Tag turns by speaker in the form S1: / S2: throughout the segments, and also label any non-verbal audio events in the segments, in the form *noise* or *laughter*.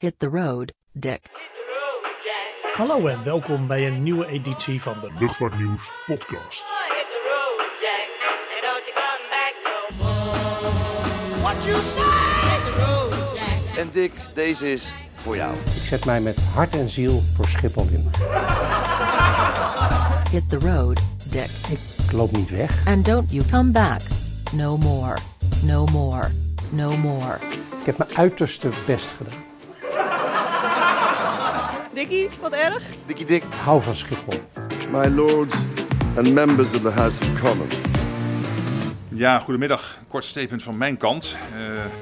S1: Hit the road, Dick.
S2: Hallo en welkom bij een nieuwe editie van de
S3: Luchtvaartnieuws podcast.
S4: En Dick, deze is voor jou.
S5: Ik zet mij met hart en ziel voor Schiphol in.
S1: Hit the road, Dick.
S5: Ik loop niet weg.
S1: And don't you come back. No more. No more. No more.
S5: Ik heb mijn uiterste best gedaan.
S6: Dikkie, wat erg.
S4: Dikkie Dick.
S5: Ik hou van Schiphol.
S7: My lords and members of the House of Commons.
S8: Ja, goedemiddag. Kort statement van mijn kant. Eh,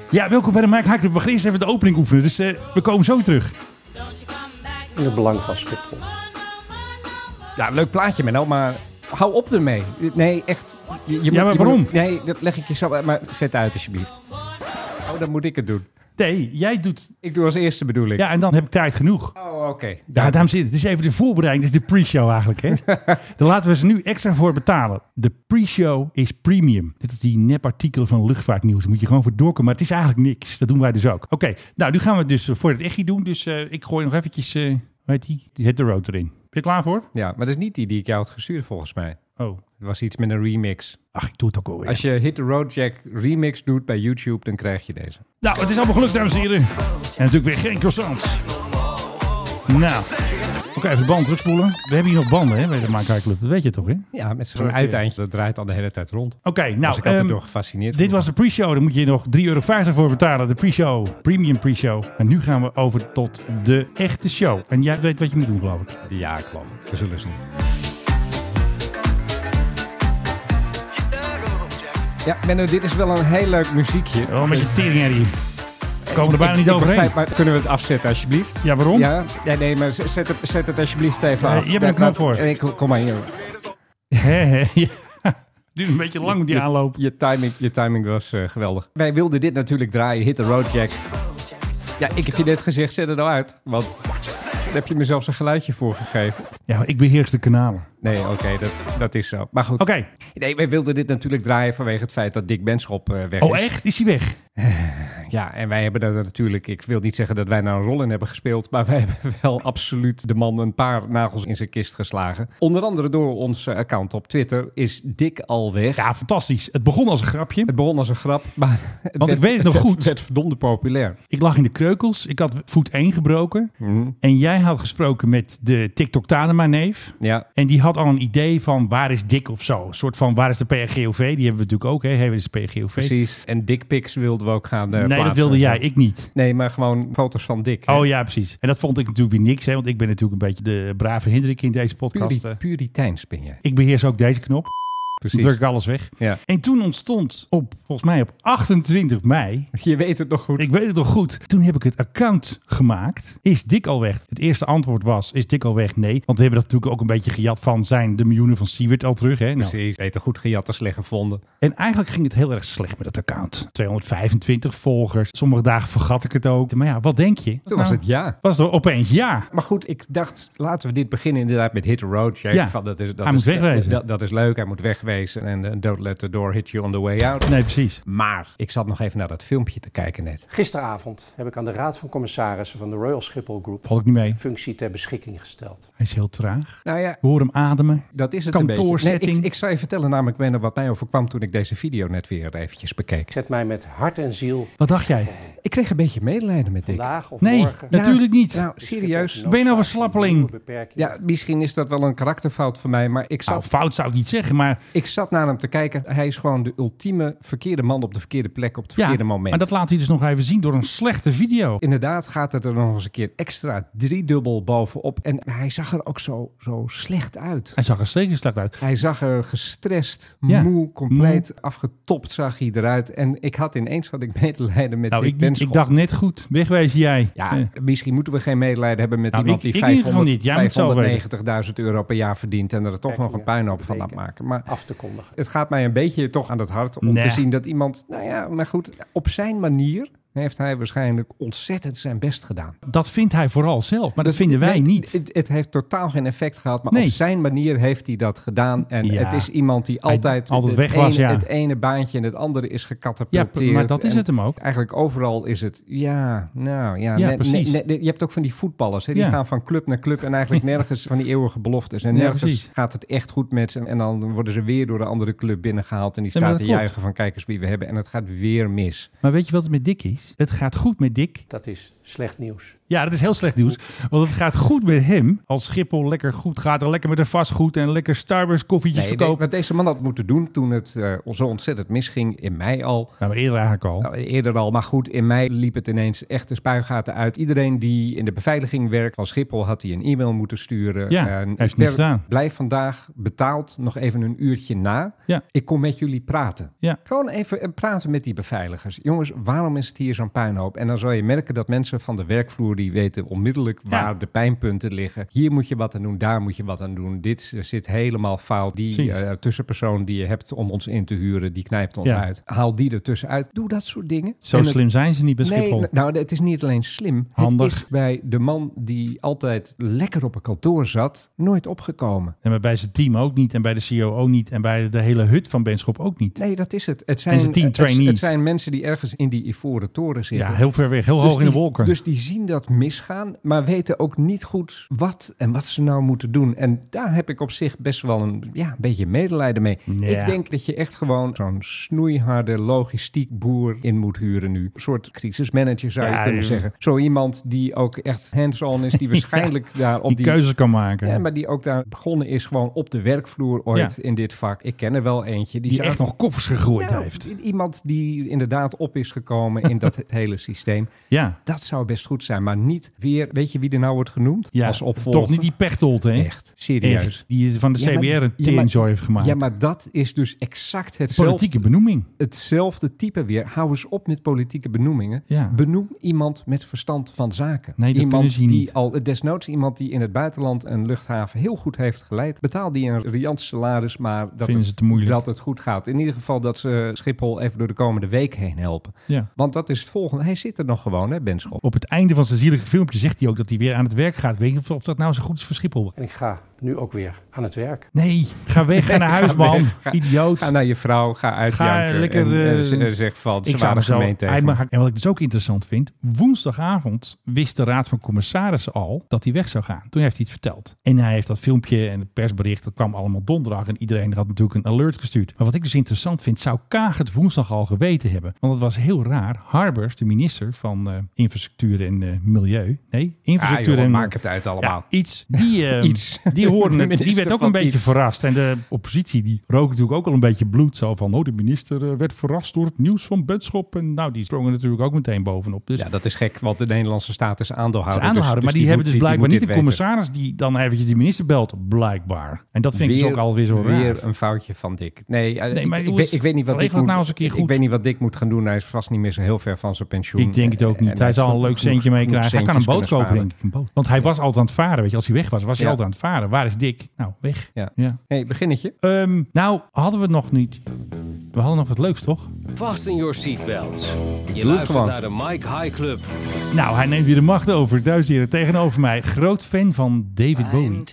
S9: Ja, welkom bij de Mike Haak. We gaan eerst even de opening oefenen, dus eh, we komen zo terug.
S5: In het belang van Schiphol.
S10: Ja, leuk plaatje, Menno, maar hou op ermee. Nee, echt. Je, je
S9: maar
S10: je
S9: waarom?
S10: nee, dat leg ik je zo... Maar zet uit, alsjeblieft. Oh, dan moet ik het doen.
S9: Nee, jij doet...
S10: Ik doe als eerste, bedoel ik.
S9: Ja, en dan heb ik tijd genoeg.
S10: Oh, oké.
S9: Ja, dames en heren, het is even de voorbereiding. Het is de pre-show
S10: *laughs*
S9: eigenlijk, hè? Daar laten we ze nu extra voor betalen. De pre-show is premium. Dit is die nepartikelen van luchtvaartnieuws. Daar moet je gewoon voor doorkomen. Maar het is eigenlijk niks. Dat doen wij dus ook. Oké, nou, nu gaan we het dus voor het echtje doen. Dus eh, ik gooi nog eventjes, eh hoe heet die? Die Hit the Road erin. Ben je klaar voor?
S10: Ja, maar dat is niet die die ik jou had gestuurd, volgens mij.
S9: Oh.
S10: Het was iets met een remix.
S9: Ach, ik doe het ook alweer.
S10: Als je Hit the Road Jack remix doet bij YouTube, dan krijg je deze.
S9: Nou, het is allemaal gelukt, dames en heren. En natuurlijk weer geen croissants. Nou, oké, even de band terugspoelen. We hebben hier nog banden, hè, bij de Maakai Club. Dat weet je toch, hè? Oké,
S10: Ja, met zo'n uiteindje. Dat draait al de hele tijd rond.
S9: nou...
S10: was ik altijd
S9: ehm,
S10: door gefascineerd.
S9: dit was de pre-show. Daar moet je nog 3,50 euro voor betalen. De pre-show. Premium pre-show. En nu gaan we over tot de echte show. En jij weet wat je moet doen, geloof ik.
S10: Ja, ik geloof het. We zullen zien. Ja, Menno, dit is wel een heel leuk muziekje.
S9: Oh, met je tering hier. We komen er bijna niet overheen.
S10: begrijp, maar kunnen we het afzetten alsjeblieft?
S9: Ja, waarom?
S10: Ja, ja, nee, maar z- zet het, zet het alsjeblieft even
S9: Eh,
S10: af.
S9: je hebt er een knop voor.
S10: Nee, kom- kom maar hier.
S9: *laughs* Hè, hè,
S10: *laughs*
S9: ja. Duurt een beetje lang, die aanloop.
S10: Je timing, je timing was eh, geweldig. Wij wilden dit natuurlijk draaien, Hit the Road Jack. Ja, ik heb je net gezegd, zet het nou uit. Want daar heb je me zelfs een geluidje voor gegeven.
S9: Ja, ik beheers de kanalen.
S10: Nee, oké, dat, dat is zo. Maar goed.
S9: Oké.
S10: Nee, wij wilden dit natuurlijk draaien vanwege het feit dat Dick Benschop eh, weg is.
S9: Oh, echt? Is hij weg?
S10: Ja, en wij hebben daar natuurlijk... Ik wil niet zeggen dat wij nou een rol in hebben gespeeld... maar wij *laughs* hebben wel absoluut de man een paar nagels in zijn kist geslagen. Onder andere door ons eh, account op Twitter is Dick al weg.
S9: Ja, fantastisch. Het begon als een grapje.
S10: Het begon als een grap, maar *laughs* het
S9: Want ik weet het nog goed.
S10: Het werd verdomde populair.
S9: Ik lag in de kreukels. Ik had voet 1 gebroken.
S10: Mhm.
S9: En jij had gesproken met de TikTok Tadema neef.
S10: Ja,
S9: En die had al een idee van waar is Dick of zo. Een soort van waar is de PRGOV? Die hebben we natuurlijk ook. Hè? Hey, waar is de PRGOV?
S10: precies. En dickpics wilden we ook gaan eh,
S9: nee, dat
S10: plaatsen
S9: wilde
S10: en zo.
S9: jij. Ik niet.
S10: Nee, maar gewoon foto's van Dick. hè.
S9: Oh ja, precies. En dat vond ik natuurlijk weer niks. Hè? Want ik ben natuurlijk een beetje de brave Hendrik in deze podcast.
S10: Puri, puriteins ben jij.
S9: Ik beheers ook deze knop. Dan
S10: Precies.
S9: druk ik alles weg.
S10: Ja.
S9: En toen ontstond op, volgens mij op 28 mei,
S10: *laughs* Je weet het nog goed.
S9: Ik weet het nog goed. Toen heb ik het account gemaakt. Is Dick al weg? Het eerste antwoord was, is Dick al weg? Nee. Want we hebben dat natuurlijk ook een beetje gejat van, zijn de miljoenen van Siewert al terug? Hè? Nou.
S10: Precies. Beter goed gejat dan slecht gevonden.
S9: En eigenlijk ging het heel erg slecht met dat account. 225 volgers. Sommige dagen vergat ik het ook. Maar ja, wat denk je?
S10: Toen was
S9: Nou,
S10: het ja.
S9: Was er opeens ja.
S10: Maar goed, ik dacht, laten we dit beginnen inderdaad met Hit the Road Jack.
S9: Ja,
S10: Van, dat is, dat
S9: hij
S10: is,
S9: moet wegwezen.
S10: Dat, dat is leuk, hij moet wegwezen. En eh, don't let the door hit you on the way out.
S9: Nee, precies.
S10: Maar ik zat nog even naar dat filmpje te kijken net.
S5: Gisteravond heb ik aan de Raad van Commissarissen van de Royal Schiphol Group
S9: Val ik niet mee.
S5: functie ter beschikking gesteld.
S9: Hij is heel traag.
S10: Nou ja,
S9: We horen hem ademen.
S10: dat is het een beetje.
S9: Kantoorzetting.
S10: ik, ik zou je vertellen namelijk, Menno, wat mij overkwam toen ik deze video net weer eventjes
S5: Ik
S10: bekeek.
S5: zet mij met hart en ziel
S9: Wat dacht jij?
S10: Ik kreeg een beetje medelijden met Dick.
S5: vandaag of
S9: Nee,
S5: morgen.
S9: dat- natuurlijk niet.
S10: Nou,
S5: Is
S10: serieus.
S5: Schiphol
S9: Ben je nou een
S5: noodzaak
S9: slappeling?
S5: nieuwe beperkingen?
S10: Ja, misschien is dat wel een karakterfout van mij, maar ik
S9: Nou,
S10: zat,
S9: fout zou ik niet zeggen, maar,
S10: ik zat naar hem te kijken. Hij is gewoon de ultieme verkeerde man op de verkeerde plek op het
S9: ja,
S10: verkeerde moment.
S9: maar dat laat hij dus nog even zien door een slechte video.
S10: Inderdaad gaat het er nog eens een keer extra driedubbel bovenop. En hij zag er ook zo, zo slecht uit.
S9: Hij zag er zeker slecht uit.
S10: Hij zag er gestrest,
S9: Ja,
S10: moe, compleet afgetopt zag hij eruit. En ik had ineens had ik medelijden met
S9: Nou,
S10: Dick
S9: ik, niet.
S10: Benschop.
S9: ik dacht net goed. Wegwezen jij.
S10: Ja,
S9: Eh.
S10: misschien moeten we geen medelijden hebben met
S9: Nou,
S10: iemand
S9: ik-
S10: die
S9: ik in ieder geval niet. Jij moet het zelf
S10: 590.000 euro per jaar verdient en er toch nog een puinhoop van laat maken. Maar
S5: Af te kondigen.
S10: het gaat mij een beetje toch aan het hart om
S9: Nee.
S10: te zien dat iemand, nou ja, maar goed, op zijn manier heeft hij waarschijnlijk ontzettend zijn best gedaan.
S9: Dat vindt hij vooral zelf, maar dat vinden wij
S10: Nee,
S9: niet.
S10: Dus Het, het heeft totaal geen effect gehad, maar
S9: Nee.
S10: op zijn manier heeft hij dat gedaan. En
S9: Ja.
S10: het is iemand die
S9: Hij
S10: altijd,
S9: altijd
S10: het,
S9: weg was,
S10: ene,
S9: ja.
S10: het ene baantje en het andere is
S9: Ja,
S10: gecatapulteerd.
S9: maar dat is
S10: En
S9: het hem ook.
S10: Eigenlijk overal is het, ja, nou ja.
S9: Ja,
S10: net-
S9: precies.
S10: net- net- je hebt ook van die voetballers, hè, die
S9: Ja.
S10: gaan van club naar club en
S9: *laughs*
S10: eigenlijk nergens van die eeuwige beloftes. En
S9: Ja,
S10: nergens
S9: precies.
S10: gaat het echt goed met ze. En dan worden ze weer door een andere club binnengehaald en die
S9: Ja, maar
S10: staat te
S9: dat klopt.
S10: juichen van kijk eens wie we hebben. En het gaat weer mis.
S9: Maar weet je wat het met Dick is? Het gaat goed met Dick.
S5: Dat is slecht nieuws.
S9: Ja, dat is heel slecht nieuws. Want het gaat goed met hem. Als Schiphol lekker goed gaat, dan lekker met de vastgoed en lekker Starbucks koffietjes
S10: Nee,
S9: verkopen.
S10: wat deze man had moeten doen toen het eh, zo ontzettend misging in mei al.
S9: Nou, maar eerder eigenlijk al.
S10: Nou, eerder al, maar goed, in mei liep het ineens echt de spuigaten uit. Iedereen die in de beveiliging werkt van Schiphol had hij een e-mail moeten sturen.
S9: Ja, hij
S10: En
S9: heeft het niet gedaan.
S10: Blijf vandaag betaald nog even een uurtje na.
S9: Ja.
S10: Ik kom met jullie praten.
S9: Ja.
S10: Gewoon even eh, praten met die beveiligers. Jongens, waarom is het hier zo'n puinhoop? En dan zal je merken dat mensen van de werkvloer die weten onmiddellijk waar de pijnpunten liggen. Hier moet je wat aan doen, daar moet je wat aan doen. Dit eh, zit helemaal fout. Die
S9: Precies.
S10: eh, tussenpersoon die je hebt om ons in te huren, die knijpt ons
S9: Ja.
S10: uit. Haal die ertussen uit. Doe dat soort dingen.
S9: Zo
S10: En het-
S9: slim zijn ze niet bij Schiphol.
S10: Nee, nou, het is niet alleen slim.
S9: Handig.
S10: Het is bij de man die altijd lekker op een kantoor zat, nooit opgekomen.
S9: En maar bij zijn team ook niet. En bij de COO niet. En bij de hele hut van Benschop ook niet.
S10: Nee, dat is het. Het zijn, eh,
S9: zijn team
S10: het-
S9: trainees.
S10: Het, zijn mensen die ergens in die ivoren toren zitten.
S9: Ja, heel ver weg. Heel
S10: Dus
S9: hoog in de
S10: die-
S9: wolken.
S10: Dus die zien dat misgaan, maar weten ook niet goed wat en wat ze nou moeten doen. En daar heb ik op zich best wel een, ja, een beetje medelijden mee.
S9: Ja.
S10: Ik denk dat je echt gewoon zo'n snoeiharde logistiek boer in moet huren nu. Een soort crisismanager zou
S9: Ja,
S10: je kunnen
S9: ja.
S10: zeggen. Zo iemand die ook echt hands-on is,
S9: *laughs*
S10: die waarschijnlijk daar op
S9: die,
S10: die...
S9: keuzes kan maken.
S10: Ja, maar die ook daar begonnen is gewoon op de werkvloer ooit
S9: Ja.
S10: in dit vak. Ik ken er wel eentje. Die,
S9: die
S10: zou-
S9: echt nog koffers gegooid
S10: Nou,
S9: heeft.
S10: Iemand die inderdaad op is gekomen in
S9: *laughs*
S10: dat hele systeem.
S9: Ja.
S10: Dat zou best goed zijn, maar niet weer. Weet je wie er nou wordt genoemd
S9: ja.
S10: als opvolger?
S9: Toch niet die pechtold, hè?
S10: echt serieus.
S9: Echt. Die van de
S10: Ja,
S9: CBR
S10: maar-
S9: een
S10: ja, maar-
S9: teringzooi heeft gemaakt.
S10: Ja, maar dat is dus exact hetzelfde,
S9: Politieke benoeming.
S10: hetzelfde type weer. Hou eens op met politieke benoemingen.
S9: Ja.
S10: Benoem iemand met verstand van zaken.
S9: Nee, dat
S10: iemand
S9: kunnen ze hier
S10: die
S9: niet.
S10: al desnoods iemand die in het buitenland een luchthaven heel goed heeft geleid. Betaal die een riant salaris, maar dat
S9: Vinden
S10: het,
S9: ze te moeilijk.
S10: dat het goed gaat. In ieder geval dat ze Schiphol even door de komende week heen helpen.
S9: Ja.
S10: Want dat is het volgende. Hij zit er nog gewoon, hè, Benschop.
S9: Op het einde van zijn zielige filmpje zegt hij ook dat hij weer aan het werk gaat. Weet je of, of dat nou zo goed is voor Schiphol?
S5: En ik ga nu ook weer aan het werk.
S9: Nee, ga weg, ga naar huis,
S10: Ga
S9: man.
S10: weg, ga-
S9: Idioot.
S10: Ga naar je vrouw, ga uitjanken.
S9: Ga lekker,
S10: en, eh,
S9: eh,
S10: z- eh, zeg van,
S9: Ik
S10: ze
S9: zou
S10: waren
S9: mezelf-
S10: gemeen tegen
S9: Hij
S10: me. Ah,
S9: mag- En wat ik dus ook interessant vind, woensdagavond wist de Raad van Commissarissen al dat hij weg zou gaan. Toen heeft hij het verteld. En hij heeft dat filmpje en het persbericht, dat kwam allemaal donderdag en iedereen had natuurlijk een alert gestuurd. Maar wat ik dus interessant vind, zou Kaag het woensdag al geweten hebben? Want het was heel raar. Harbers, de minister van eh, Infrastructuur en eh, Milieu, nee,
S10: Ah,
S9: Infrastructuur
S10: joh,
S9: en...
S10: maak het uit allemaal.
S9: Ja, iets.
S10: *laughs*
S9: Die, eh,
S10: Iets.
S9: die hoorden
S10: De
S9: het. Die werd
S10: minister
S9: ook een
S10: van
S9: beetje
S10: iets.
S9: verrast. En de oppositie die rook natuurlijk ook al een beetje bloed. Zo van, oh, de minister eh, werd verrast door het nieuws van Benschop. En nou, die sprongen natuurlijk ook meteen bovenop. Dus
S10: Ja, dat is gek, want de Nederlandse staat is aandeelhouder.
S9: ze aanhouden. maar die, hebben dus blijkbaar niet de
S10: commissaris.
S9: commissaris die dan eventjes de minister belt. Blijkbaar. En dat vind ik dus ook alweer zo raar.
S10: weer een foutje van Dick. Nee, eh,
S9: Nee,
S10: ik,
S9: maar
S10: ik,
S9: jongens,
S10: weet, ik weet niet wat
S9: regel
S10: Dick
S9: het
S10: moet,
S9: nou eens een keer
S10: ik- Ik
S9: goed.
S10: weet niet wat Dick moet gaan doen. Hij is vast niet meer zo heel ver van zijn pensioen.
S9: Ik denk het ook
S10: En- en
S9: niet. Hij
S10: heeft
S9: zal een
S10: genoeg-
S9: leuk
S10: genoeg-
S9: centje mee
S10: genoeg
S9: krijgen. Hij kan een
S10: centjes
S9: boot
S10: kunnen
S9: kopen, denk
S10: sparen.
S9: ik. Een boot. Want hij was altijd aan het varen. Weet je, als hij weg was, was hij
S10: Ja.
S9: altijd aan het varen. Waar is Dick? Nou, weg.
S10: Ja.
S9: ja.
S10: Hey, beginnetje.
S9: Ehm, nou, hadden we het nog niet. We hadden nog wat leuks, toch?
S3: Fasten your seatbelts. Je
S10: het
S3: luistert
S10: gewoon.
S3: naar de Mike High Club.
S9: Nou, hij neemt weer de macht over. Duizenden tegenover mij. Groot fan van David Bowie.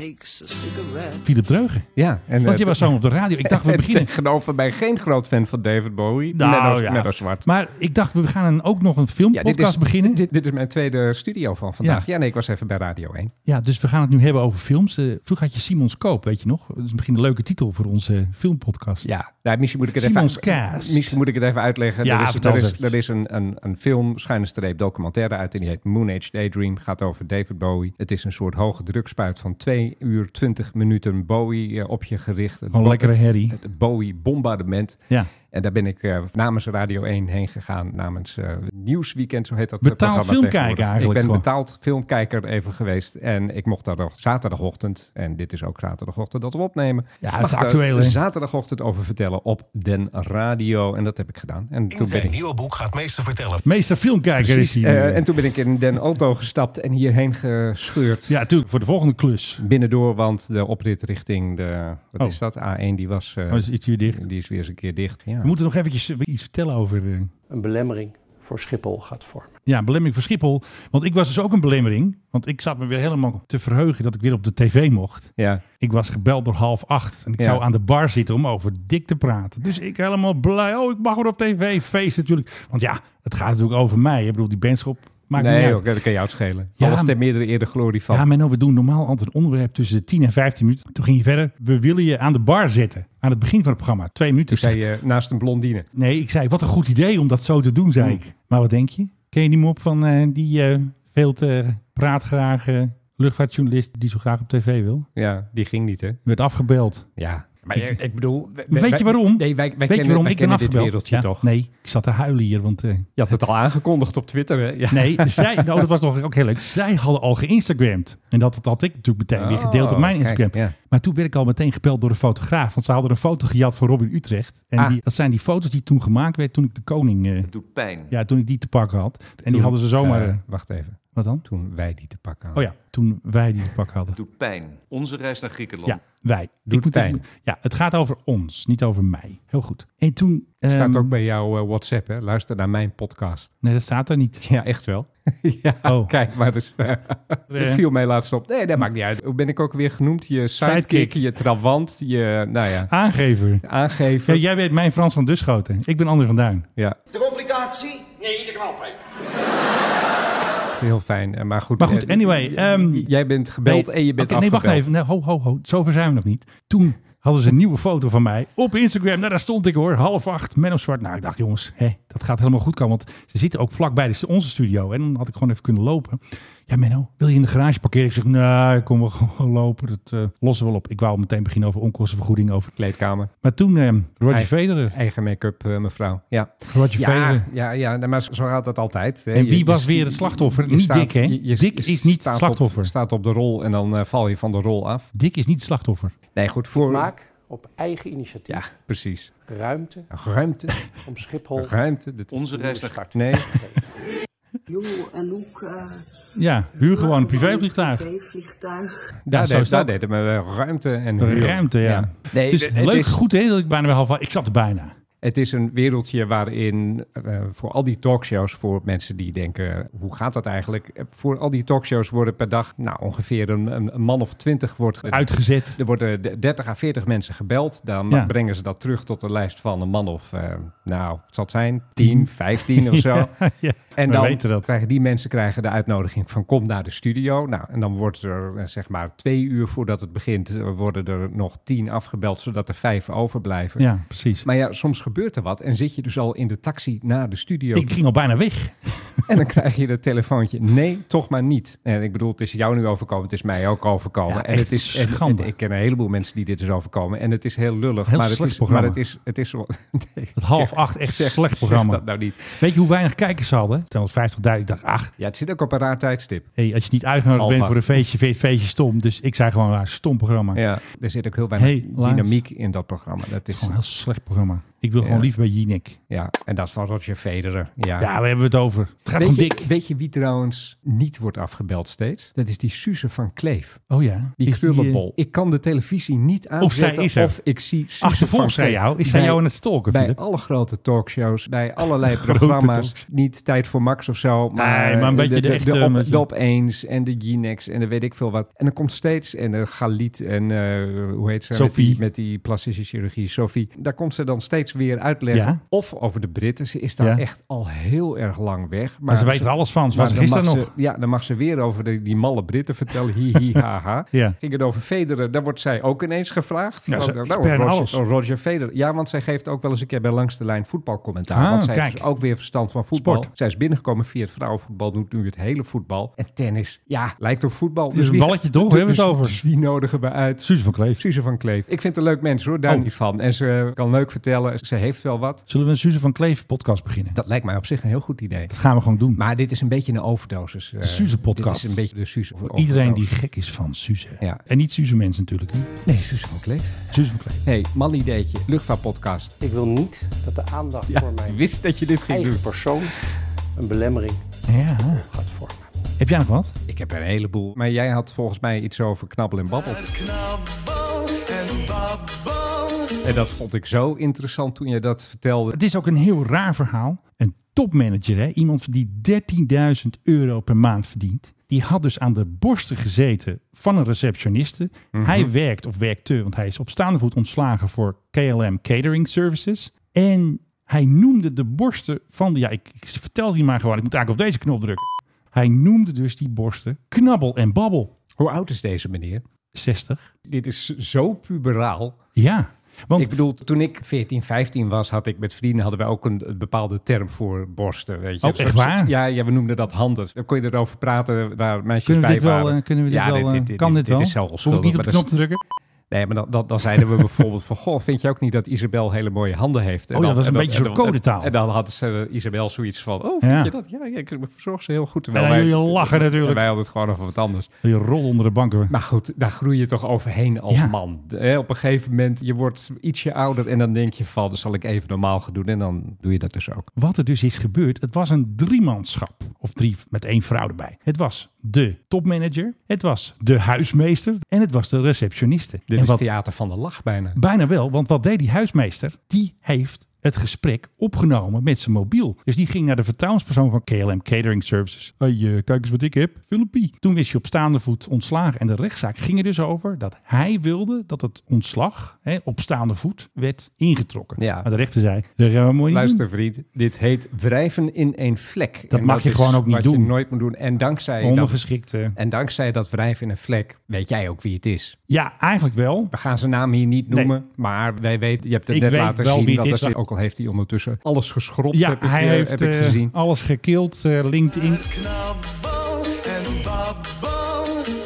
S9: Philip Dreugen.
S10: Ja, en,
S9: Want je
S10: eh,
S9: was zo op de radio. Ik
S10: *laughs*
S9: dacht, we
S10: en
S9: beginnen.
S10: Tegenover mij geen groot fan van David Bowie.
S9: Nou,
S10: Menno,
S9: ja.
S10: Menno Zwart.
S9: Maar ik dacht, we gaan een, ook nog een filmpodcast
S10: dit is,
S9: beginnen.
S10: Dit, dit is mijn tweede studio van vandaag.
S9: Ja.
S10: Ja. nee, ik was even bij Radio 1.
S9: Ja, dus we gaan het nu hebben over films. Eh, vroeger had je Simons Koop, weet je nog? Dat is misschien een leuke titel voor onze eh, filmpodcast.
S10: Ja, nou, misschien moet ik het
S9: Simon's
S10: even...
S9: Cast.
S10: Misschien moet ik het even uitleggen.
S9: Ja,
S10: er is,
S9: vertel
S10: er
S9: eens
S10: is,
S9: eventjes.
S10: er is een, een, een film, schuine streep documentaire uit... en die heet Moon Age Daydream. Gaat over David Bowie. Het is een soort hoge drukspuit van 2 uur 20 minuten Bowie eh, op je gericht. Het
S9: Gewoon
S10: bo-
S9: lekkere herrie.
S10: Het Bowie-bombardement.
S9: Ja.
S10: En daar ben ik eh, namens Radio 1 heen gegaan. Namens eh, Nieuwsweekend, zo heet dat eh,
S9: Betaald
S10: programma
S9: filmkijker
S10: tegenwoordig.
S9: eigenlijk
S10: Ik ben
S9: gewoon.
S10: betaald filmkijker even geweest. En ik mocht daar nog zaterdagochtend, en dit is ook zaterdagochtend, dat we opnemen. eh,
S9: Ja,
S10: Mag
S9: het is
S10: daar
S9: actueel, hè?
S10: Zaterdagochtend over vertellen op Den Radio. En dat heb ik gedaan. En toen ben ik...
S3: nieuwe boek gaat meester vertellen.
S9: Meester filmkijker is hij.
S10: Eh, en toen ben ik in Den Auto gestapt en hierheen gescheurd.
S9: ja, natuurlijk, voor de volgende klus.
S10: Binnendoor, want de oprit richting de... Wat
S9: Oh.
S10: is dat? A1, die was... eh,
S9: Oh, is iets hier dicht.
S10: die is weer eens een keer dicht. Ja.
S9: We moeten nog eventjes eh, iets vertellen over... eh,
S5: Een belemmering voor Schiphol gaat vormen.
S9: Ja, een belemmering voor Schiphol. Want ik was dus ook een belemmering. Want ik zat me weer helemaal te verheugen dat ik weer op de tv mocht.
S10: Ja.
S9: Ik was gebeld door half acht. En ik
S10: Ja.
S9: zou aan de bar zitten om over dik te praten. Dus ik helemaal blij. Oh, ik mag weer op tv. Feest natuurlijk. Want ja, het gaat natuurlijk over mij. Ik bedoel, die bandschap maakt niet
S10: nee,
S9: uit.
S10: joh, dat kan jou het schelen.
S9: Ja,
S10: Alles
S9: maar-
S10: ter meerdere eerder glorie van.
S9: Ja, Menno, we doen normaal altijd een onderwerp tussen de 10 en 15 minuten. Toen ging je verder. We willen je aan de bar zetten. Aan het begin van het programma. Twee minuten.
S10: Toen zei je eh, naast een blondine.
S9: Nee, ik zei, wat een goed idee om dat zo te doen,
S4: Hmm.
S9: zei ik. Maar wat denk je? Ken je die mop van eh, die eh, veel te praatgrage luchtvaartjournalist die zo graag op tv wil?
S10: Ja, die ging niet, hè?
S9: Werd afgebeld.
S10: Ja. Maar ik, ik bedoel... we- we-
S9: Weet je
S10: wij-
S9: waarom?
S10: Nee, wij, wij
S9: Weet
S10: kennen,
S9: je waarom
S10: wij
S9: ik ben
S10: kennen dit
S9: afgebeld?
S10: wereldje
S9: Ja,
S10: toch?
S9: Nee, ik zat te huilen hier, want... eh,
S10: Je had het al aangekondigd op Twitter, hè? Ja.
S9: nee, *laughs* zij, nou, dat was toch ook heel leuk. Zij hadden al geïnstagramd. En dat, dat had ik natuurlijk meteen weer gedeeld op
S10: Oh,
S9: mijn
S10: kijk,
S9: Instagram.
S10: ja.
S9: Maar toen werd ik al meteen gebeld door een fotograaf. Want ze hadden een foto gejat van Robin Utrecht. En
S10: Ah.
S9: die, dat zijn die foto's die toen gemaakt werd toen ik de koning... eh,
S4: doet pijn.
S9: ja, toen ik die te pakken had. En die
S10: Toen,
S9: hadden ze zomaar...
S10: eh,
S9: eh,
S10: wacht even.
S9: wat dan?
S10: Toen wij die te pakken
S9: Oh
S10: hadden.
S9: ja, toen wij die pak hadden.
S4: doet pijn. Onze reis naar Griekenland.
S9: Ja, wij.
S10: Doet
S9: Ik moet-
S10: pijn.
S9: Ja, het gaat over ons, niet over mij. Heel goed. En toen...
S10: Staat
S9: ehm,
S10: ook bij jouw eh, WhatsApp, hè? Luister naar mijn podcast.
S9: Nee, dat staat er niet.
S10: Ja, echt
S9: *laughs*
S10: wel. ja,
S9: Oh.
S10: kijk, maar
S9: *laughs*
S10: dus, eh, het viel mij laatst op. Nee, dat maakt niet uit. Hoe ben ik ook weer genoemd? Je sidekick,
S9: Sidekick.
S10: je trawant, je, nou ja,
S9: Aangever. Ja,
S10: aangever. Ja,
S9: jij weet mijn Frans van Duschoten. Ik ben André van Duin.
S6: De complicatie? Nee, de knalpijp.
S10: heel fijn. Eh, Maar goed,
S9: Maar goed,
S10: eh,
S9: anyway, ehm,
S10: jij bent gebeld
S9: Nee,
S10: en je bent
S9: oké, Nee, wacht
S10: afgebeld.
S9: even. Nee, ho, ho, ho. Zover zijn we nog niet. Toen hadden ze een nieuwe foto van mij op Instagram. Nou, daar stond ik hoor. Half acht, Menno Zwart. Nou, ik dacht, jongens, hè, dat gaat helemaal goed komen. Want ze zitten ook vlakbij de- onze studio. En dan had ik gewoon even kunnen lopen. Ja, Menno, wil je in de garage parkeren? Ik zeg, nou, ik kom wel gewoon lopen. Dat eh, lossen we wel op. Ik wou meteen beginnen over onkostenvergoeding. Over.
S10: Kleedkamer,
S9: Maar toen, eh, Roger
S10: Ei.
S9: Federer.
S10: eigen make-up, eh, mevrouw. Ja,
S9: Roger
S10: ja,
S9: Federer.
S10: ja, ja nee, maar zo zo gaat dat altijd. hè.
S9: En
S10: Je-
S9: wie
S10: je
S9: was
S10: st-
S9: weer het slachtoffer?
S10: je
S9: Niet
S10: staat-
S9: Dick, hè?
S10: je- je-
S9: Dick
S10: je
S9: is niet
S10: staat op-
S9: slachtoffer.
S10: staat op de rol en dan eh, val je van de rol af.
S9: Dick is niet het slachtoffer.
S10: Nee, goed, voor...
S5: Maak op eigen initiatief
S10: Ja, precies.
S5: ruimte
S10: Ruimte,
S5: om Schiphol
S10: ruimte. Dit
S4: Onze reis naar
S5: start.
S10: Nee,
S9: Ja, huur gewoon een privévliegtuig.
S10: daar,
S9: Ja,
S10: deed,
S9: zo is het
S10: daar
S9: ook.
S10: deden we wel ruimte en huur.
S9: Ruimte, ja.
S10: Nee,
S9: dus
S10: het,
S9: leuk,
S10: is,
S9: goed hè, dat ik bijna wel half... Ik zat er bijna.
S10: het is een wereldje waarin eh, voor al die talkshows, voor mensen die denken, hoe gaat dat eigenlijk? Eh, Voor al die talkshows worden per dag, nou ongeveer een, een een man of twintig wordt...
S9: Uitgezet.
S10: Er worden d- 30 à 40 mensen gebeld. Dan
S9: Ja.
S10: brengen ze dat terug tot een lijst van een man of, eh, nou, het zal het zijn, 10, 15
S9: *laughs*
S10: of zo.
S9: ja,
S10: En
S9: we
S10: dan
S9: weten dat.
S10: krijgen die mensen krijgen de uitnodiging van kom naar de studio. Nou, en dan wordt er eh, zeg maar twee uur voordat het begint, eh, worden er nog tien afgebeld, zodat er vijf overblijven.
S9: Ja, precies.
S10: Maar ja, soms gebeurt er wat en zit je dus al in de taxi naar de studio.
S9: Ik ging al bijna weg.
S10: En dan krijg je dat telefoontje. Nee, toch maar niet. En ik bedoel, het is jou nu overkomen, het is mij ook overkomen.
S9: Ja,
S10: en
S9: echt
S10: het is en-
S9: schande.
S10: en ik ken een heleboel mensen die dit is overkomen. En het is heel lullig.
S9: Heel
S10: maar, het
S9: slecht
S10: is, maar
S9: programma.
S10: het is, het is wel- nee,
S9: Het half
S10: zeg-
S9: acht, echt
S10: zeg-
S9: slecht
S10: zeg
S9: programma.
S10: dat nou niet.
S9: Weet je hoe weinig kijkers ze hadden? 250.000. Ik dacht, ach,
S10: Ja, het zit ook op een raar tijdstip.
S9: hey, als je niet uitgenodigd
S10: Half
S9: bent
S10: acht.
S9: voor een feestje, vind je het feestje stom. Dus ik zei gewoon, ah, stom programma.
S10: Ja, er zit ook heel weinig
S9: Helaas.
S10: dynamiek in dat programma. Dat is,
S9: Gewoon een heel slecht programma. Ik wil gewoon
S10: Ja.
S9: liever bij Jinek.
S10: ja, en dat is van Roger Federer. Ja.
S9: Ja, we hebben we het over. Het gaat om
S10: Weet,
S9: Dick.
S10: je, weet je wie trouwens niet wordt afgebeld steeds? Dat is die Suze van Kleef.
S9: Oh ja.
S10: Die
S9: Is eh,
S10: krullenbol. ik kan de televisie niet aanzetten
S9: is er.
S10: of ik zie Suze van
S9: Achtervolgens zij
S10: Kleef.
S9: jou. Is zij
S10: Bij-
S9: jou aan het stalken,
S10: Bij
S9: Philip?
S10: alle grote talkshows,
S9: *laughs*
S10: bij allerlei programma's. Niet Tijd voor Max of zo. Maar
S9: maar een beetje de echte,
S10: De,
S9: een beetje-
S10: op, de Opeens en de Ginex en de weet ik veel wat. En dan komt steeds, en de Galit en eh, hoe heet ze?
S9: Sophie.
S10: Met die, met die plastische chirurgie, Sophie. Daar komt ze dan steeds weer uitleggen.
S9: Ja.
S10: Of over de Britten. Ze is daar
S9: Ja.
S10: echt al heel erg lang weg. Maar,
S9: Maar ze weet er alles van. Ze
S10: maar
S9: was er
S10: dan mag
S9: gisteren nog.
S10: ze- ja, dan mag ze weer over de- die malle Britten vertellen. Hi, hi, ha, ha.
S9: *laughs* Ja.
S10: Ging het over Federer, daar wordt zij ook ineens gevraagd.
S9: Ja,
S10: Oh,
S9: ze-
S10: nou,
S9: expert in
S10: Roger,
S9: alles.
S10: Roger Federer. Ja, want zij geeft ook wel eens een keer bij Langs de Lijn voetbalcommentaar.
S9: Ah,
S10: want zij heeft
S9: kijk.
S10: dus ook weer verstand van voetbal.
S9: Sport.
S10: Zij is binnengekomen via het vrouwenvoetbal, doet nu het hele voetbal. En tennis, ja, lijkt op voetbal.
S9: Dus een
S10: wie-
S9: balletje toch, we hebben het
S10: dus-
S9: over.
S10: Dus die nodigen we uit.
S9: Suze van Kleef.
S10: Suze van Kleef. Ik vind het een leuk mens hoor, daar
S9: Oh.
S10: niet van. En ze kan leuk vertellen, ze heeft wel wat.
S9: Zullen we een Suze van Kleef podcast beginnen?
S10: Dat lijkt mij op zich een heel goed idee.
S9: Dat gaan we gewoon doen.
S10: Maar dit is een beetje een overdosis. eh.
S9: Suze-podcast.
S10: Dit is een beetje de Suze.
S9: Voor iedereen die gek is van Suze.
S10: Ja.
S9: En niet Suze mensen natuurlijk. Hè?
S10: Nee, Suze van Kleef.
S9: Suze van Kleef.
S10: Hey, man ideetje. Luchtvaartpodcast.
S5: Ik wil niet dat de aandacht voor
S10: Ik
S5: mijn
S10: wist dat je dit ging doen.
S5: eigen persoon een belemmering
S9: Ja.
S5: gaat vormen.
S9: Heb jij nog wat?
S10: Ik heb er een heleboel. Maar jij had volgens mij iets over knabbel en babbel. En dat vond ik zo interessant toen je dat vertelde.
S9: Het is ook een heel raar verhaal. Een topmanager, hè? iemand die 13.000 euro per maand verdient. Die had dus aan de borsten gezeten van een receptioniste. Hij werkt of werkte, want hij is op staande voet ontslagen voor KLM Catering Services. En hij noemde de borsten van, ja, ik, ik vertel het hier maar gewoon, ik moet eigenlijk op deze knop drukken. Hij noemde dus die borsten knabbel en babbel.
S10: Hoe oud is deze meneer?
S9: 60.
S10: Dit is zo puberaal.
S9: Ja, want
S10: Ik bedoel, toen ik 14, 15 was, had ik met vrienden hadden wij ook een, een bepaalde term voor borsten. Weet je.
S9: Oh,
S10: Een
S9: echt
S10: soort-
S9: waar?
S10: Ja, ja, we noemden dat handen. Dan kon je erover praten waar meisjes
S9: kunnen we
S10: bij
S9: dit wel,
S10: waren.
S9: eh, kunnen we dit
S10: ja,
S9: wel, eh, kan
S10: is-
S9: dit, wel?
S10: Dit is zo
S9: Hoef ik
S10: onschuldig.
S9: niet op
S10: maar
S9: de
S10: dat is-
S9: knop te drukken?
S10: Nee, maar dan, dan, dan zeiden we bijvoorbeeld van... Goh, vind je ook niet dat Isabel hele mooie handen heeft? En
S9: Oh,
S10: dan,
S9: dat was een
S10: en dan-
S9: beetje
S10: en
S9: zo'n
S10: dan-
S9: codetaal.
S10: En dan had ze, eh, Isabel zoiets van... Oh, vind
S9: Ja.
S10: je dat? Ja, ja, ik verzorg ze heel goed.
S9: En dan jullie lachen
S10: En
S9: natuurlijk.
S10: wij hadden het gewoon over wat anders.
S9: Je rol onder de banken.
S10: Maar goed, daar groei je toch overheen als
S9: Ja.
S10: man. Hè, op een gegeven moment, je wordt ietsje ouder en dan denk je van, dan zal ik even normaal gaan doen. En dan doe je dat dus ook.
S9: Wat er dus is gebeurd, het was een driemanschap. Of drie met één vrouw erbij. Het was de topmanager, het was de huismeester en het was de receptioniste.
S10: Dit
S9: en
S10: is
S9: wat,
S10: theater van de lach bijna.
S9: Bijna wel, want wat deed die huismeester? Die heeft het gesprek opgenomen met zijn mobiel. Dus die ging naar de vertrouwenspersoon van KLM Catering Services. Hey, eh, kijk eens wat ik heb, Filipie. Toen is hij op staande voet ontslagen. En de rechtszaak ging er dus over dat hij wilde dat het ontslag hè, op staande voet werd ingetrokken.
S10: Ja.
S9: Maar de rechter zei, dat gaan we mooi niet doen.
S10: Luister vriend, dit heet wrijven in één vlek. En
S9: mag je
S10: is
S9: gewoon ook niet
S10: wat
S9: doen.
S10: je nooit moet doen. En dankzij, dat,
S9: Ondergeschikt. eh.
S10: en dankzij dat wrijven in een vlek, weet jij ook wie het is.
S9: Ja, eigenlijk wel.
S10: We gaan zijn naam hier niet
S9: Nee.
S10: noemen, maar wij weten, je hebt het
S9: Ik
S10: net
S9: weet
S10: laten
S9: wel
S10: zien.
S9: wie het
S10: dat
S9: is,
S10: er zit-
S9: dat-
S10: ook al heeft hij ondertussen alles geschropt,
S9: Ja,
S10: heb, ik,
S9: hij
S10: eh,
S9: heeft
S10: heb ik
S9: eh,
S10: gezien.
S9: alles gekild, eh, LinkedIn.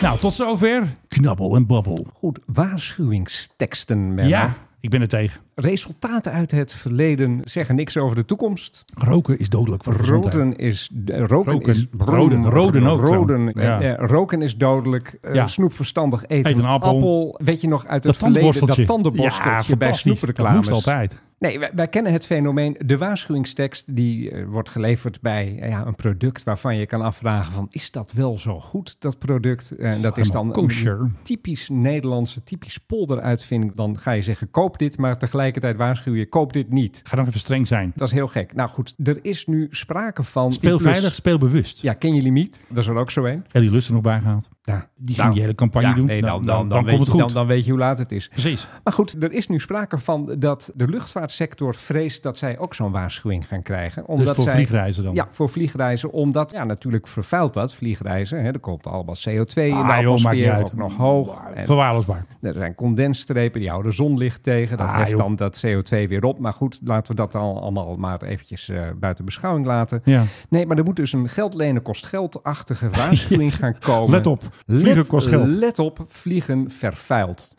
S9: Nou, tot zover. Knabbel en babbel.
S10: Goed, waarschuwingsteksten, Menno.
S9: Ja, ik ben er tegen.
S10: Resultaten uit het verleden zeggen niks over de toekomst.
S9: Roken is dodelijk voor de gezondheid.
S10: Roden is, eh, roken,
S9: Roken.
S10: is
S9: Roden. Roden ook,
S10: Roden.
S9: ja. Ja.
S10: Eh, eh, roken is dodelijk. Eh,
S9: Ja.
S10: Snoep verstandig eten.
S9: Eet een appel.
S10: Weet je nog uit
S9: Dat
S10: het verleden
S9: tandenborsteltje.
S10: dat tandenborsteltje
S9: ja,
S10: bij
S9: fantastisch. Dat moest
S10: snoepreklames?
S9: altijd.
S10: Nee, wij, wij kennen het fenomeen de waarschuwingstekst die eh, wordt geleverd bij eh, ja, een product waarvan je kan afvragen van is dat wel zo goed dat product? En dat is dan
S9: helemaal kosher.
S10: een typisch Nederlandse, typisch polderuitvinding. Dan ga je zeggen koop dit, maar tegelijkertijd waarschuw je koop dit niet.
S9: Ga nog even streng zijn.
S10: Dat is heel gek. Nou goed, er is nu sprake van...
S9: Speel
S10: die plus-
S9: veilig, speel bewust.
S10: Ja, ken je limiet? Dat is er ook zo een.
S9: En die lust er nog bij gehaald.
S10: Ja.
S9: Die ging die hele campagne
S10: Ja,
S9: doen. Nou,
S10: nee, dan, dan, dan,
S9: komt
S10: weet
S9: het
S10: je,
S9: goed.
S10: Dan, dan weet je hoe laat het is.
S9: Precies.
S10: Maar goed, er is nu sprake van dat de luchtvaartsector vreest dat zij ook zo'n waarschuwing gaan krijgen. Omdat
S9: dus voor
S10: zij,
S9: vliegreizen dan.
S10: Ja, voor vliegreizen. Omdat, ja, natuurlijk vervuilt dat, vliegreizen. Hè, er komt allemaal CO2 in de
S9: Ah, joh, maakt niet
S10: atmosfeer, nou
S9: uit.
S10: ook nog hoog. En
S9: Verwaarloosbaar.
S10: er zijn condensstrepen, die houden zonlicht tegen. Dat
S9: Ah,
S10: heft
S9: joh.
S10: dan dat CO2 weer op. Maar goed, laten we dat dan allemaal maar eventjes eh, buiten beschouwing laten.
S9: Ja.
S10: Nee, maar er moet dus een geld lenen kost geldachtige
S9: *laughs*
S10: waarschuwing gaan komen.
S9: Let op, vliegen
S10: Let-
S9: kost geld.
S10: Let op, vliegen vervuilt.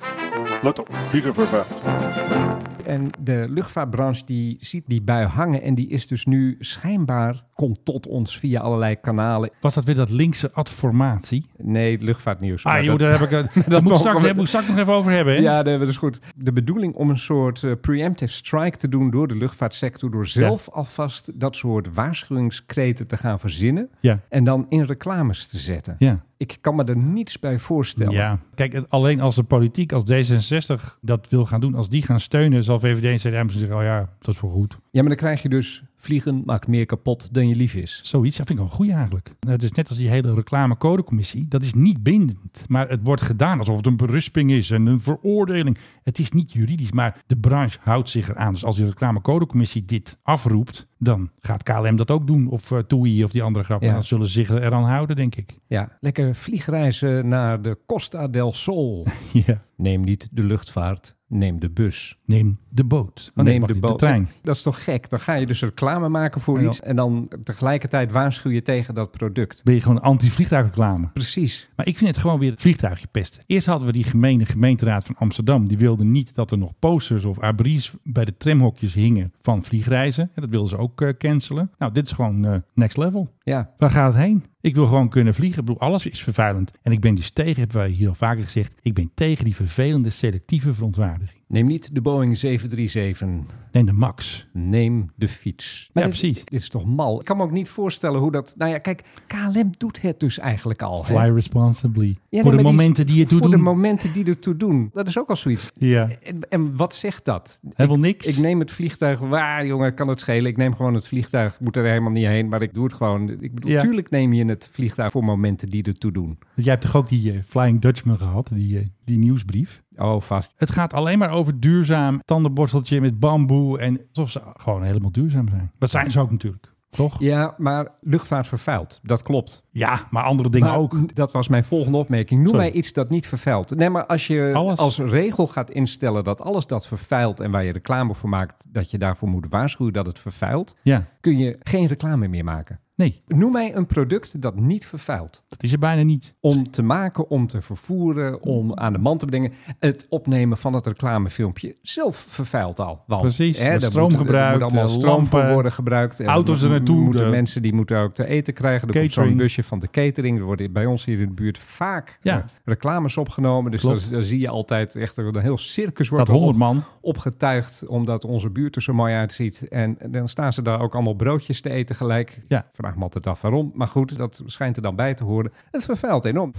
S7: Let op, vliegen vervuild.
S10: En de luchtvaartbranche die ziet die bui hangen en die is dus nu schijnbaar komt tot ons via allerlei kanalen.
S9: Was dat weer dat linkse adformatie?
S10: Nee, luchtvaartnieuws.
S9: Ah,
S10: Maar *laughs*
S9: joh,
S10: dat-
S9: daar heb ik, eh, daar moet ik
S10: mogen
S9: straks,
S10: we-
S9: daar moet ik straks nog even over hebben. Hè?
S10: Ja, nee, dat is goed. De bedoeling om een soort eh, preemptive strike te doen door de luchtvaartsector, door zelf alvast dat soort waarschuwingskreten te gaan verzinnen
S9: Ja.
S10: en dan in reclames te zetten.
S9: ja.
S10: Ik kan me er niets bij voorstellen.
S9: Ja, kijk, het- alleen als de politiek, als D66 dat wil gaan doen, als die gaan steunen, zal VVD en CDA misschien zeggen, oh ja, dat is wel goed.
S10: Ja, maar dan krijg je dus vliegen maakt meer kapot dan je lief is.
S9: Zoiets, dat vind ik wel goed eigenlijk. Nou, Het is net als die hele reclamecodecommissie, dat is niet bindend, maar het wordt gedaan alsof het een berisping is en een veroordeling. Het is niet juridisch, maar de branche houdt zich eraan. Dus als die reclamecodecommissie dit afroept, dan gaat KLM dat ook doen, of eh TUI of die andere grap.
S10: Ja.
S9: En dan zullen ze zich eraan houden, denk ik.
S10: Ja, lekker vliegreizen naar de Costa del Sol.
S9: Ja.
S10: neem niet de luchtvaart, neem de bus.
S9: Neem de boot. Oh, nee, wacht, de, trein.
S10: Dat is toch gek? Dan ga je dus reclame maken voor
S9: Ja.
S10: iets en dan tegelijkertijd waarschuw je tegen dat product.
S9: Ben je gewoon anti-vliegtuigreclame?
S10: Precies.
S9: Maar ik vind het gewoon weer het vliegtuigje pesten. Eerst hadden we die gemene gemeenteraad van Amsterdam. Die wilde niet dat er nog posters of abris bij de tramhokjes hingen van vliegreizen. En dat wilden ze ook eh, cancelen. Nou, dit is gewoon eh, next level.
S10: Ja.
S9: Waar gaat het heen? Ik wil gewoon kunnen vliegen. Ik bedoel, alles is vervuilend. En ik ben dus tegen, hebben wij hier al vaker gezegd, ik ben tegen die vervelende selectieve verontwaardiging.
S10: Neem niet de Boeing 737.
S9: Nee, de max.
S10: Neem de fiets.
S9: Ja,
S10: dit-
S9: precies.
S10: Dit, is toch mal. Ik kan me ook niet voorstellen hoe dat... Nou ja, kijk, KLM doet het dus eigenlijk al. hè?
S9: Fly responsibly.
S10: Ja,
S9: voor
S10: nee,
S9: de
S10: maar die-
S9: momenten die, het toe
S10: Voor
S9: doen.
S10: de momenten die ertoe doen. Dat is ook al zoiets.
S9: ja,
S10: En, en wat zegt dat?
S9: helemaal niks.
S10: Ik neem het vliegtuig waar, jongen, kan het schelen. Ik neem gewoon het vliegtuig. Ik moet er helemaal niet heen, maar ik doe het gewoon. Ik bedoel,
S9: Ja.
S10: tuurlijk neem je het vliegtuig voor momenten die ertoe doen.
S9: Jij hebt toch ook die eh, Flying Dutchman gehad, die, eh, die nieuwsbrief.
S10: Oh, vast.
S9: Het gaat alleen maar over duurzaam tandenborsteltje met bamboe. En alsof ze gewoon helemaal duurzaam zijn. Dat zijn ze ook natuurlijk, toch? Ja,
S10: Ja, maar luchtvaart vervuilt. Dat klopt.
S9: maar andere dingen
S10: Maar
S9: ook.
S10: Dat was mijn volgende opmerking. Noem
S9: Sorry.
S10: mij iets dat niet vervuilt. Nee, maar als je
S9: Alles.
S10: als regel gaat instellen dat alles dat vervuilt en waar je reclame voor maakt, dat je daarvoor moet waarschuwen dat het vervuilt,
S9: Ja,
S10: kun je geen reclame meer maken.
S9: nee,
S10: Noem mij een product dat niet vervuilt.
S9: dat is er bijna niet.
S10: om te maken, om te vervoeren, om aan de man te brengen. Het opnemen van het reclamefilmpje zelf vervuilt al. Want,
S9: Precies,
S10: hè,
S9: er
S10: daar
S9: wordt stroom
S10: moeten- er
S9: gebruikt,
S10: moeten allemaal
S9: eh,
S10: stroom voor
S9: lampen,
S10: worden gebruikt. Er
S9: auto's er naartoe,
S10: Moeten
S9: de-
S10: mensen die moeten ook te eten krijgen. Er komt zo'n
S9: Catering.
S10: busje van de catering. Er worden bij ons hier in de buurt vaak
S9: Ja.
S10: eh, reclames opgenomen. Dus daar,
S9: Klopt.
S10: daar zie je altijd echt een heel circus
S9: Dat
S10: wordt erop
S9: honderd man.
S10: opgetuigd omdat onze buurt er zo mooi uitziet. En dan staan ze daar ook allemaal broodjes te eten gelijk.
S9: Ja.
S10: Vraag me altijd af waarom. Maar goed, dat schijnt er dan bij te horen. Het vervuilt enorm.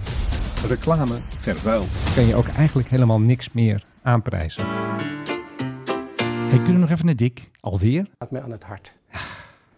S10: Reclame
S4: Vervuil.
S10: kan je ook eigenlijk helemaal niks meer aanprijzen.
S9: Hey, kunnen we nog even naar Dick?
S10: Alweer?
S5: Gaat mij aan het hart.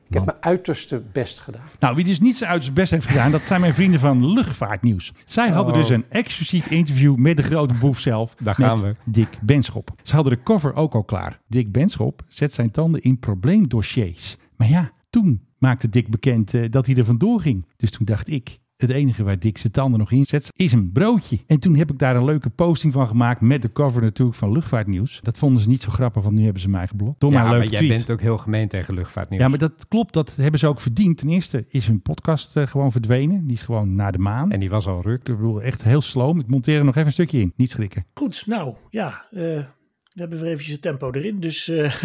S5: Ik heb mijn uiterste best gedaan.
S9: Nou, wie dus niet zijn uit zijn best heeft gedaan, dat zijn mijn vrienden van Luchtvaartnieuws. Zij hadden
S10: Oh.
S9: dus een exclusief interview met de grote boef zelf.
S10: Daar
S9: met
S10: gaan we.
S9: Dick Benschop. Ze hadden de cover ook al klaar. Dick Benschop zet zijn tanden in probleemdossiers. Maar ja, toen maakte Dick bekend eh, dat hij er vandoor ging. Dus toen dacht ik, het enige waar Dick zijn tanden nog in zet, is een broodje. En toen heb ik daar een leuke posting van gemaakt met de cover natuurlijk van Luchtvaartnieuws. Dat vonden ze niet zo grappig, want nu hebben ze mij geblokt. Door mijn
S10: ja,
S9: leuke
S10: maar jij
S9: tweet.
S10: bent ook heel gemeen tegen luchtvaartnieuws.
S9: Ja, maar dat klopt. Dat hebben ze ook verdiend. Ten eerste is hun podcast eh, gewoon verdwenen. Die is gewoon naar de maan.
S10: En die was al ruk.
S9: ik bedoel, echt heel sloom. Ik monteer er nog even een stukje in. Niet schrikken.
S2: Goed, nou ja, eh, we hebben weer eventjes het tempo erin. Dus eh,
S9: *laughs*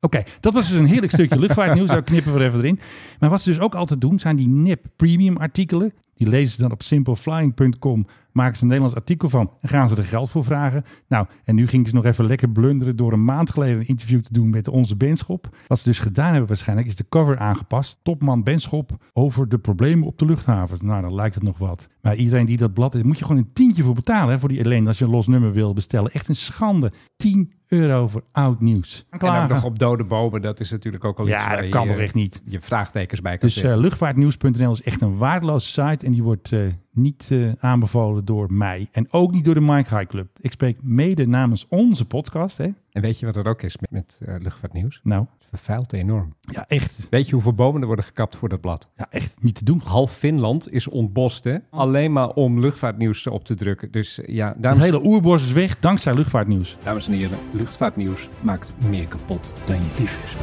S9: Oké, dat was dus een heerlijk stukje luchtvaartnieuws. Daar knippen we er even erin. Maar wat ze dus ook altijd doen, zijn die nep premium artikelen. Die lezen ze dan op simpleflying.com. Maken ze een Nederlands artikel van. En gaan ze er geld voor vragen. Nou, en nu ging ze nog even lekker blunderen door een maand geleden een interview te doen met onze Benschop. Wat ze dus gedaan hebben waarschijnlijk is de cover aangepast. Topman Benschop over de problemen op de luchthaven. Nou, dan lijkt het nog wat. Maar iedereen die dat blad... Daar moet je gewoon een tientje voor betalen. Hè, voor die alleen als je een los nummer wil bestellen. Echt een schande. 10 euro voor oud nieuws.
S10: En
S9: Klagen.
S10: ook nog op dode bomen. Dat is natuurlijk ook al iets
S9: Ja,
S10: waar
S9: dat
S10: je
S9: kan
S10: je-
S9: toch echt niet.
S10: Je vraagtekens bij kan
S9: Dus eh,
S10: zetten.
S9: luchtvaartnieuws.nl is echt een waardeloze site en die wordt eh, niet eh, aanbevolen door mij en ook niet door de Mike High Club. Ik spreek mede namens onze podcast. Hè?
S10: En weet je wat er ook is met, met eh, luchtvaartnieuws?
S9: Nou,
S10: Het vervuilt enorm.
S9: ja echt,
S10: Weet je hoeveel bomen er worden gekapt voor dat blad?
S9: ja, echt niet te doen.
S10: Half Finland is ontbost, hè?
S9: Oh.
S10: Alleen maar om luchtvaartnieuws op te drukken. Dus eh, ja,
S9: Het
S10: dames,
S9: hele oerbos is weg dankzij luchtvaartnieuws.
S10: dames en heren, luchtvaartnieuws maakt meer kapot dan je lief is.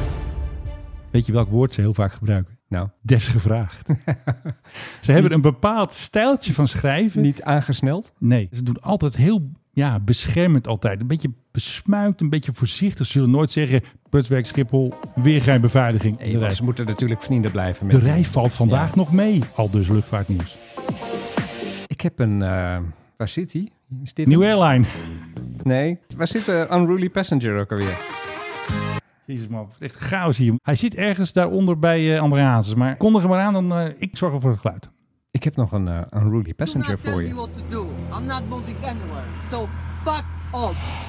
S9: Weet je welk woord ze heel vaak gebruiken?
S10: Nou,
S9: *laughs* Desgevraagd. ze hebben een bepaald stijltje van schrijven.
S10: niet aangesneld?
S9: Nee, ze doen altijd heel ja, beschermend altijd. Een beetje besmuikt, een beetje voorzichtig. Ze zullen nooit zeggen, Putwerk Schiphol, weer geen beveiliging.
S10: Nee,
S9: De
S10: want
S9: rij-
S10: ze moeten natuurlijk vrienden blijven.
S9: De
S10: Met
S9: rij valt vandaag nog mee, al dus luchtvaartnieuws.
S10: Ik heb een... eh, waar zit hij? Is dit
S9: Nieuwe airline.
S10: hem? Nee. Waar zit de Unruly Passenger ook alweer?
S9: Jezus man, echt chaos hier. Hij zit ergens daaronder bij eh André Hazes. Maar kondig hem maar aan, dan eh, ik zorg voor het geluid.
S10: Ik heb nog een eh, Unruly Passenger voor je.
S11: what to do. I'm not moving anywhere. So fuck off.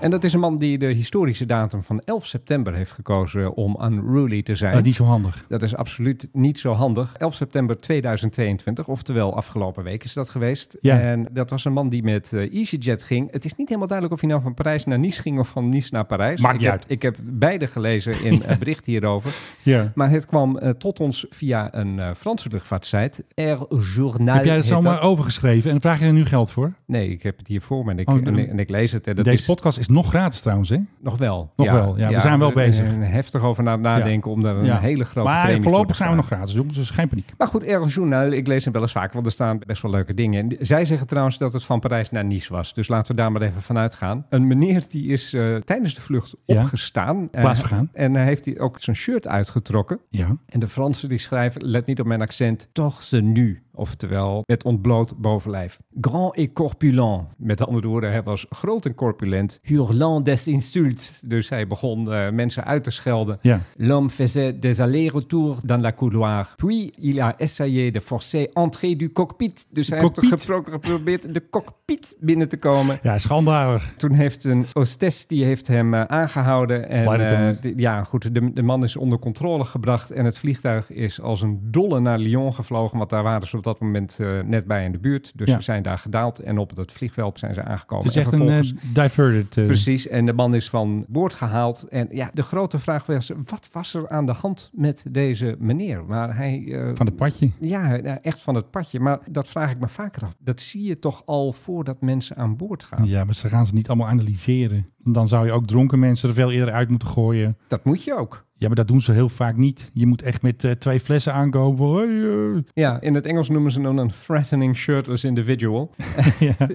S10: En dat is een man die de historische datum van 11 september heeft gekozen om Unruly te zijn.
S9: Dat is niet zo handig.
S10: Dat is absoluut niet zo handig. 11 september 2022, oftewel afgelopen week is dat geweest.
S9: Ja.
S10: En dat was een man die met eh, EasyJet ging. Het is niet helemaal duidelijk of hij nou van Parijs naar Nice ging of van Nice naar Parijs.
S9: Maakt
S10: ik
S9: niet
S10: heb,
S9: uit.
S10: Ik heb beide gelezen
S9: *laughs*
S10: in een bericht hierover.
S9: Ja.
S10: Maar het kwam eh, tot ons via een eh, Franse luchtvaartsite, Air Journal.
S9: Heb jij oh.
S10: heet
S9: dat zomaar overgeschreven en vraag je er nu geld voor?
S10: Nee, ik heb het hier voor me en ik,
S9: Oh, de-
S10: en, ik- en ik lees het. En dat
S9: Deze
S10: is,
S9: podcast is nog gratis trouwens, hè?
S10: Nog wel.
S9: Nog wel, ja, we zijn wel bezig.
S10: zijn heftig over na nadenken om daar een
S9: Ja.
S10: hele grote
S9: maar
S10: premie voor te
S9: voorlopig zijn we nog
S10: vragen.
S9: gratis, jongens, dus geen paniek.
S10: Maar goed, Erg Journal, ik lees hem wel eens vaak, want er staan best wel leuke dingen. En zij zeggen trouwens dat het van Parijs naar Nice was. Dus laten we daar maar even vanuit gaan. Een meneer die is eh, tijdens de vlucht
S9: Ja.
S10: opgestaan. eh,
S9: Plaatsvergaan.
S10: En hij heeft hij ook zijn shirt uitgetrokken.
S9: Ja.
S10: En de Fransen die schrijven, let niet op mijn accent, toch ze nu. Oftewel, met ontbloot bovenlijf. Grand et corpulent. Met andere woorden, hij was groot en corpulent. Hurlant des insultes. Dus hij begon eh, mensen uit te schelden.
S9: Ja.
S10: L'homme faisait des allers-retours dans la couloir. Puis, il a essayé de forcer entrée du cockpit. Dus hij heeft
S9: Cockpit.
S10: gepro- geprobeerd de cockpit binnen te komen.
S9: Ja, schandalig.
S10: Toen heeft een hostess die heeft hem eh, aangehouden. En
S9: Lieutenant.
S10: eh, die- ja, goed, de, de man is onder controle gebracht. En het vliegtuig is als een dolle naar Lyon gevlogen. Want daar waren ze op dat moment eh, net bij in de buurt. Dus
S9: Ja.
S10: ze zijn daar gedaald. En op dat vliegveld zijn ze aangekomen.
S9: Het is
S10: En
S9: echt een eh,
S10: vervolgens-
S9: diverted. eh,
S10: Precies, en de man is van boord gehaald. En ja, de grote vraag was, wat was er aan de hand met deze meneer? Maar hij... eh,
S9: van het padje.
S10: ja, nou, echt van het padje. Maar dat vraag ik me vaker af. Dat zie je toch al voordat mensen aan boord gaan.
S9: Ja, maar ze gaan ze niet allemaal analyseren. Dan zou je ook dronken mensen er veel eerder uit moeten gooien.
S10: Dat moet je ook.
S9: Ja, maar dat doen ze heel vaak niet. Je moet echt met eh, twee flessen aankomen. van, Hey, eh.
S10: Ja, in het Engels noemen ze hem een threatening shirtless
S9: *laughs*
S10: individual.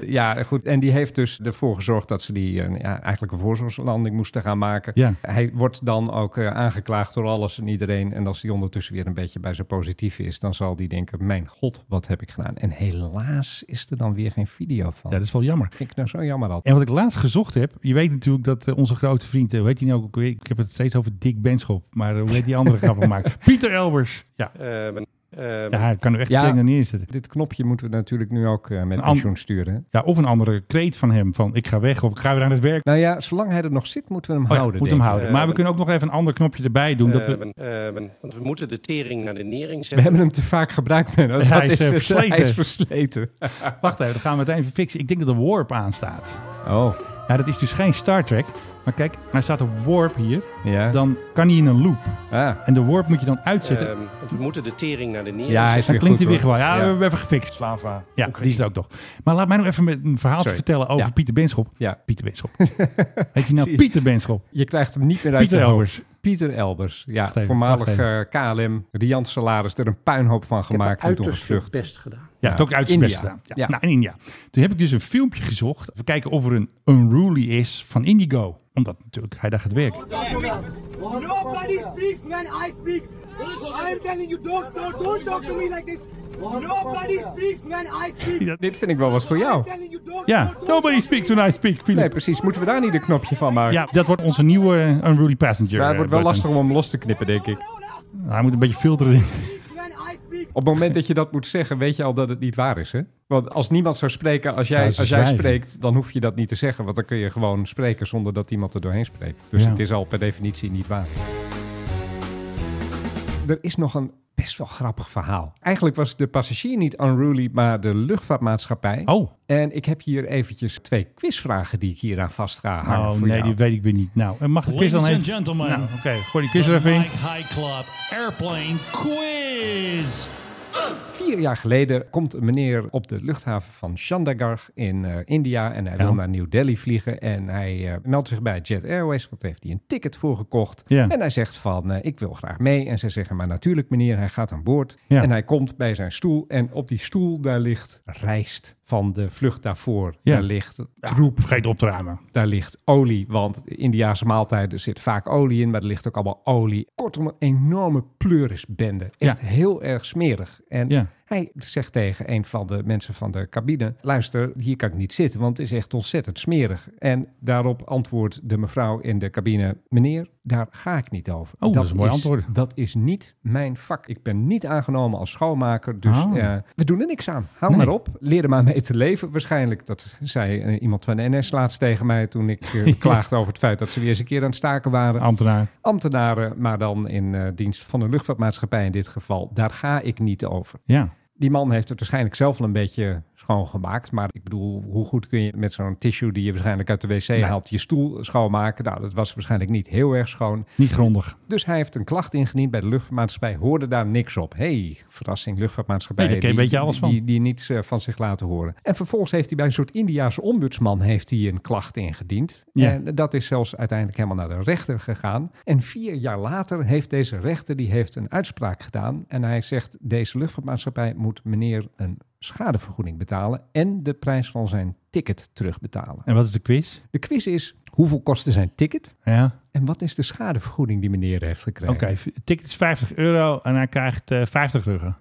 S10: ja. goed. En die heeft dus ervoor gezorgd dat ze die eh, ja, eigenlijk een voorzorgslanding moesten gaan maken.
S9: Ja.
S10: Hij wordt dan ook eh, aangeklaagd door alles en iedereen. En als hij ondertussen weer een beetje bij zijn positief is, dan zal die denken, mijn god, wat heb ik gedaan? En helaas is er dan weer geen video van.
S9: Ja, dat is wel jammer.
S10: Vind ik nou zo jammer al.
S9: En wat ik laatst gezocht heb, je weet natuurlijk dat eh, onze grote vriend, eh, hoe heet hij nou ook? weer? Ik heb het steeds over Dick Benschop, maar eh, hoe heet die
S10: *laughs*
S9: andere grappen maakt? Pieter Elbers. Ja, ja, hij kan er echt
S10: Ja.
S9: meteen naar neerzetten.
S10: Dit knopje moeten we natuurlijk nu ook eh, met
S9: Een an-
S10: pensioen sturen. hè?
S9: Ja, of een andere kreet van hem, van ik ga weg of ik ga weer aan het werk.
S10: Nou ja, zolang hij er nog zit, moeten we hem
S9: Oh ja,
S10: houden.
S9: moet hem
S10: denk ik.
S9: houden. maar we kunnen ook nog even een ander knopje erbij doen.
S5: Eh,
S9: dat we,
S12: want Eh, we moeten de tering naar de nering
S10: We
S12: zetten.
S10: hebben hem te vaak gebruikt. Menno.
S9: Hij
S10: Dat
S9: is, eh,
S10: het.
S9: versleten.
S10: *laughs* Hij is versleten.
S9: Ah, wacht even, dat gaan we meteen even fixen. Ik denk dat de warp aanstaat.
S10: Oh,
S9: Ja, dat is dus geen Star Trek. Maar kijk, hij staat op warp hier.
S10: ja.
S9: Dan kan hij in een loop.
S10: Ah.
S9: En de warp moet je dan
S5: Eh,
S9: uitzetten.
S12: Eh, want we moeten de tering naar de nering
S10: Ja, hij is
S9: dan
S10: weer
S9: klinkt hij weer
S10: goed,
S9: gewoon.
S10: hoor.
S9: Ja, we
S10: Ja.
S9: hebben even gefixt. Slava. Ja, die is er ook nog. Maar laat mij nog even met een verhaal
S10: Sorry.
S9: vertellen over
S10: Ja.
S9: Pieter Benschop.
S10: Ja. *laughs*
S9: Pieter Benschop. Heet je nou
S10: Zie je.
S9: Pieter Benschop?
S10: Je krijgt hem niet meer uit
S9: Pieter
S10: je hoofd.
S9: Elbers.
S10: Pieter Elbers. Ja,
S9: Wacht even,
S10: voormalig
S9: wacht
S10: eh, KLM. Riant Salaris. Er een puinhoop van gemaakt en toen
S5: uiterst veel
S10: gevlucht.
S5: best gedaan.
S9: Ja, het ook uit zijn
S10: India.
S9: best gedaan. Ja.
S10: Ja.
S9: Nou, in India. Toen heb ik dus een filmpje gezocht. Even kijken of er een unruly is van Indigo. Omdat natuurlijk hij daar gaat werken.
S11: Nobody speaks when I speak. I'm telling you, don't, don't, don't talk to me like this. Nobody speaks when I speak.
S10: Dit vind ik wel wat voor jou.
S9: Ja, nobody speaks when I speak, Philip.
S10: Nee, precies. Moeten we daar niet een knopje van maken?
S9: Ja, dat wordt onze nieuwe eh, Unruly Passenger.
S10: Maar het
S9: eh,
S10: wordt wel
S9: button.
S10: lastig om hem los te knippen, denk ik.
S9: Nou, Hij moet een beetje filteren.
S10: Op het moment dat je dat moet zeggen, weet je al dat het niet waar is, hè? Want als niemand zou spreken, als jij,
S9: Ja, ze
S10: als jij
S9: zwijgen.
S10: spreekt, dan hoef je dat niet te zeggen. Want dan kun je gewoon spreken zonder dat iemand er doorheen spreekt. Dus
S9: Ja.
S10: het is al per definitie niet waar. Er is nog een best wel grappig verhaal. Eigenlijk was de passagier niet unruly, maar de luchtvaartmaatschappij.
S9: Oh,
S10: En ik heb hier eventjes twee quizvragen die ik hier aan vast ga hangen
S9: oh
S10: Ah, voor
S9: nee,
S10: jou.
S9: die weet ik weer niet. Nou, eh, mag de quiz dan even?
S13: gentlemen,
S9: Nou, oké, gooi die quiz er even in.
S13: High Club Airplane Quiz.
S10: Vier jaar geleden komt een meneer op de luchthaven van Chandigarh in eh, India en hij
S9: Ja.
S10: wil naar New Delhi vliegen en hij eh, meldt zich bij Jet Airways, want daar heeft hij een ticket voor gekocht.
S9: Ja.
S10: En hij zegt van, eh, ik wil graag mee. En zij zeggen, maar natuurlijk meneer, hij gaat aan boord.
S9: Ja.
S10: En hij komt bij zijn stoel en op die stoel daar ligt rijst van de vlucht daarvoor.
S9: Ja.
S10: Daar ligt
S9: Troep, vergeet op te ruimen.
S10: daar ligt olie, want Indiaanse maaltijden zit vaak olie in, maar er ligt ook allemaal olie. Kortom, een enorme pleurisbende. Echt
S9: Ja.
S10: heel erg smerig. En
S9: Ja.
S10: hij zegt tegen een van de mensen van de cabine: Luister, hier kan ik niet zitten, want het is echt ontzettend smerig. En daarop antwoordt de mevrouw in de cabine: Meneer, daar ga ik niet over.
S9: Oh, dat is een mooi antwoord.
S10: Dat is niet mijn vak. Ik ben niet aangenomen als schoonmaker, dus
S9: Oh.
S10: eh, we doen er niks aan. Hou
S9: Nee.
S10: maar op. Leer er maar mee te leven. Waarschijnlijk, dat zei eh, iemand van de NS laatst tegen mij toen ik
S9: *laughs*
S10: eh, klaagde over het feit dat ze weer eens een keer aan het staken waren.
S9: Ambtenaar.
S10: Ambtenaren, maar dan in eh, dienst van een luchtvaartmaatschappij in dit geval. Daar ga ik niet over.
S9: Ja.
S10: Die man heeft het waarschijnlijk zelf wel een beetje schoongemaakt. Maar ik bedoel, hoe goed kun je met zo'n tissue die je waarschijnlijk uit de wc haalt, je stoel schoonmaken? Nou, dat was waarschijnlijk niet heel erg schoon.
S9: Niet grondig.
S10: Dus hij heeft een klacht ingediend bij de luchtvaartmaatschappij, hoorde daar niks op. hey, verrassing, luchtvaartmaatschappij.
S9: Nee, daar ken je
S10: die-
S9: een beetje alles
S10: die-
S9: van.
S10: Die, die niets eh, van zich laten horen. En vervolgens heeft hij bij een soort Indiaanse ombudsman heeft hij een klacht ingediend.
S9: Ja.
S10: En dat is zelfs uiteindelijk helemaal naar de rechter gegaan. En vier jaar later heeft deze rechter die heeft een uitspraak gedaan. En hij zegt, deze luchtvaartmaatschappij moet meneer een schadevergoeding betalen... en de prijs van zijn ticket terugbetalen.
S9: En wat is de quiz?
S10: De quiz is, hoeveel kostte zijn ticket?
S9: Ja.
S10: En wat is de schadevergoeding die meneer heeft
S9: Oké,
S10: gekregen?
S9: v- ticket is 50 euro en hij krijgt eh 50 ruggen.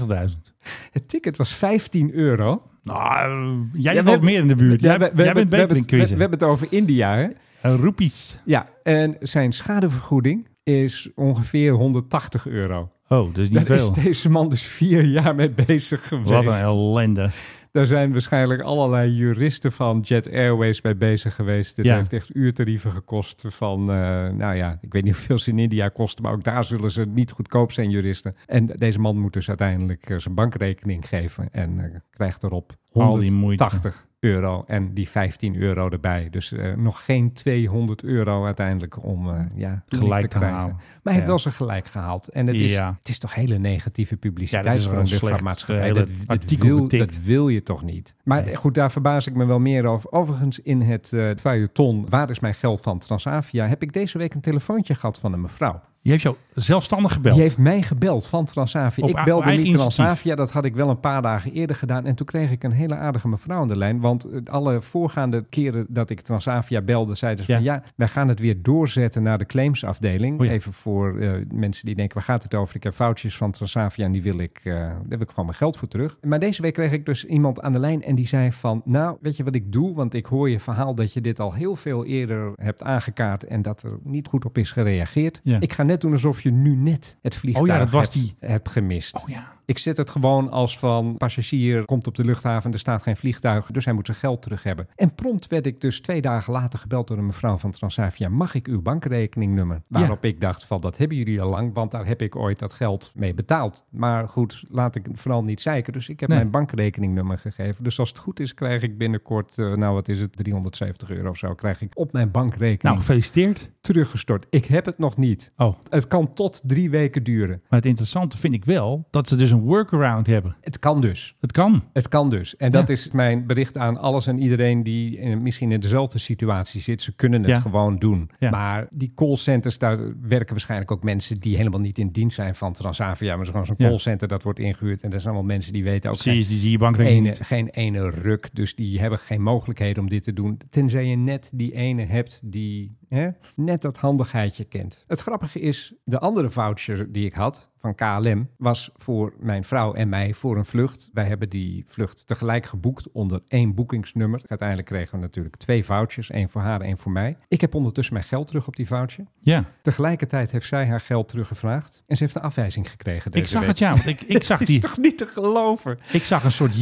S9: 50.000.
S10: Het ticket was 15 euro.
S9: Nou, eh, jij
S10: Ja,
S9: zit
S10: we
S9: al
S10: hebben-
S9: meer in de buurt.
S10: Ja,
S9: jij
S10: we- we
S9: jij
S10: hebben-
S9: bent
S10: we hebben
S9: beter in
S10: het- we-
S9: quizzen.
S10: We hebben het over India, hè?
S9: Eh, roepies.
S10: Ja, en zijn schadevergoeding is ongeveer 180 euro.
S9: Oh, dus niet
S10: Daar
S9: veel.
S10: is deze man dus vier jaar mee bezig geweest.
S9: Wat een ellende.
S10: Daar zijn waarschijnlijk allerlei juristen van Jet Airways bij bezig geweest. Dit
S9: Ja.
S10: heeft echt uurtarieven gekost van, eh, nou ja, ik weet niet hoeveel ze in India kosten, maar ook daar zullen ze niet goedkoop zijn, juristen. En deze man moet dus uiteindelijk eh, zijn bankrekening geven en eh, krijgt erop
S9: Al die moeite.
S10: 180 euro en die 15 euro erbij. Dus eh, nog geen 200 euro uiteindelijk om eh, ja,
S9: Gelijk
S10: te
S9: te
S10: krijgen.
S9: halen.
S10: Maar hij heeft
S9: Ja.
S10: wel zijn gelijk gehaald. En het is,
S9: Ja.
S10: het is toch hele negatieve publiciteit
S9: Ja, dat is
S10: voor
S9: wel
S10: een
S9: slecht.
S10: luchtvaartmaatschappij.
S9: Hele
S10: Dat, dat,
S9: artikel
S10: wil,
S9: getikt.
S10: dat wil je toch niet? Maar goed, daar verbaas ik me wel meer over. Overigens, in het eh feuilleton Waar is mijn geld van Transavia... heb ik deze week een telefoontje gehad van een mevrouw.
S9: Je hebt jou zelfstandig gebeld.
S10: Die heeft mij gebeld van Transavia.
S9: Op
S10: ik
S9: a-
S10: belde
S9: eigen
S10: niet
S9: initiatief.
S10: Transavia, dat had ik wel een paar dagen eerder gedaan. En toen kreeg ik een hele aardige mevrouw aan de lijn. Want eh, alle voorgaande keren dat ik Transavia belde, zeiden ze
S9: Ja.
S10: van ja, wij gaan het weer doorzetten naar de claimsafdeling.
S9: Oh ja.
S10: Even voor eh, mensen die denken, waar gaat het over? Ik heb foutjes van Transavia en die wil ik, eh, daar heb ik gewoon mijn geld voor terug. Maar deze week kreeg ik dus iemand aan de lijn en die zei van, nou, weet je wat ik doe? Want ik hoor je verhaal dat je dit al heel veel eerder hebt aangekaart en dat er niet goed op is gereageerd.
S9: Ja.
S10: Ik ga net doen alsof je nu net het vliegtuig
S9: Oh ja, dat was
S10: hebt,
S9: die.
S10: hebt gemist.
S9: Oh ja.
S10: Ik zet het gewoon als van passagier komt op de luchthaven, er staat geen vliegtuig, dus hij moet zijn geld terug hebben. En prompt werd ik dus twee dagen later gebeld door een mevrouw van Transavia, mag ik uw bankrekeningnummer? Waarop ik dacht van, dat hebben jullie al lang, want daar heb ik ooit dat geld mee betaald. Maar goed, laat ik vooral niet zeiken, dus ik heb
S9: Nee.
S10: mijn bankrekeningnummer gegeven. Dus als het goed is, krijg ik binnenkort, eh, nou wat is het, 370 euro of zo, krijg ik op mijn bankrekening
S9: Nou, gefeliciteerd.
S10: teruggestort. Ik heb het nog niet.
S9: Oh.
S10: Het kan tot drie weken duren.
S9: Maar het interessante vind ik wel dat ze dus een workaround hebben.
S10: Het kan dus.
S9: Het kan.
S10: Het kan dus. En dat is mijn bericht aan alles en iedereen die eh, misschien in dezelfde situatie zit. Ze kunnen het
S9: Ja.
S10: gewoon doen.
S9: Ja.
S10: Maar die callcenters, daar werken waarschijnlijk ook mensen die helemaal niet in dienst zijn van Transavia. Maar gewoon zo'n
S9: Ja.
S10: callcenter dat wordt ingehuurd. En dat zijn allemaal mensen die weten ook
S9: Precies,
S10: geen
S9: die zie je bankrekening.
S10: ene, geen ene ruk. Dus die hebben geen mogelijkheden om dit te doen. Tenzij je net die ene hebt die hè, net dat handigheidje kent. Het grappige is, de andere voucher die ik had van KLM was voor mijn vrouw en mij voor een vlucht. Wij hebben die vlucht tegelijk geboekt onder één boekingsnummer. Uiteindelijk kregen we natuurlijk twee vouchers. één voor haar, één voor mij. Ik heb ondertussen mijn geld terug op die voucher.
S9: Ja,
S10: Tegelijkertijd heeft zij haar geld teruggevraagd. En ze heeft een afwijzing gekregen deze
S9: ik zag
S10: week.
S9: het ja. Want ik, ik, zag
S10: *laughs* Het is
S9: die,
S10: toch niet te geloven?
S9: ik zag een soort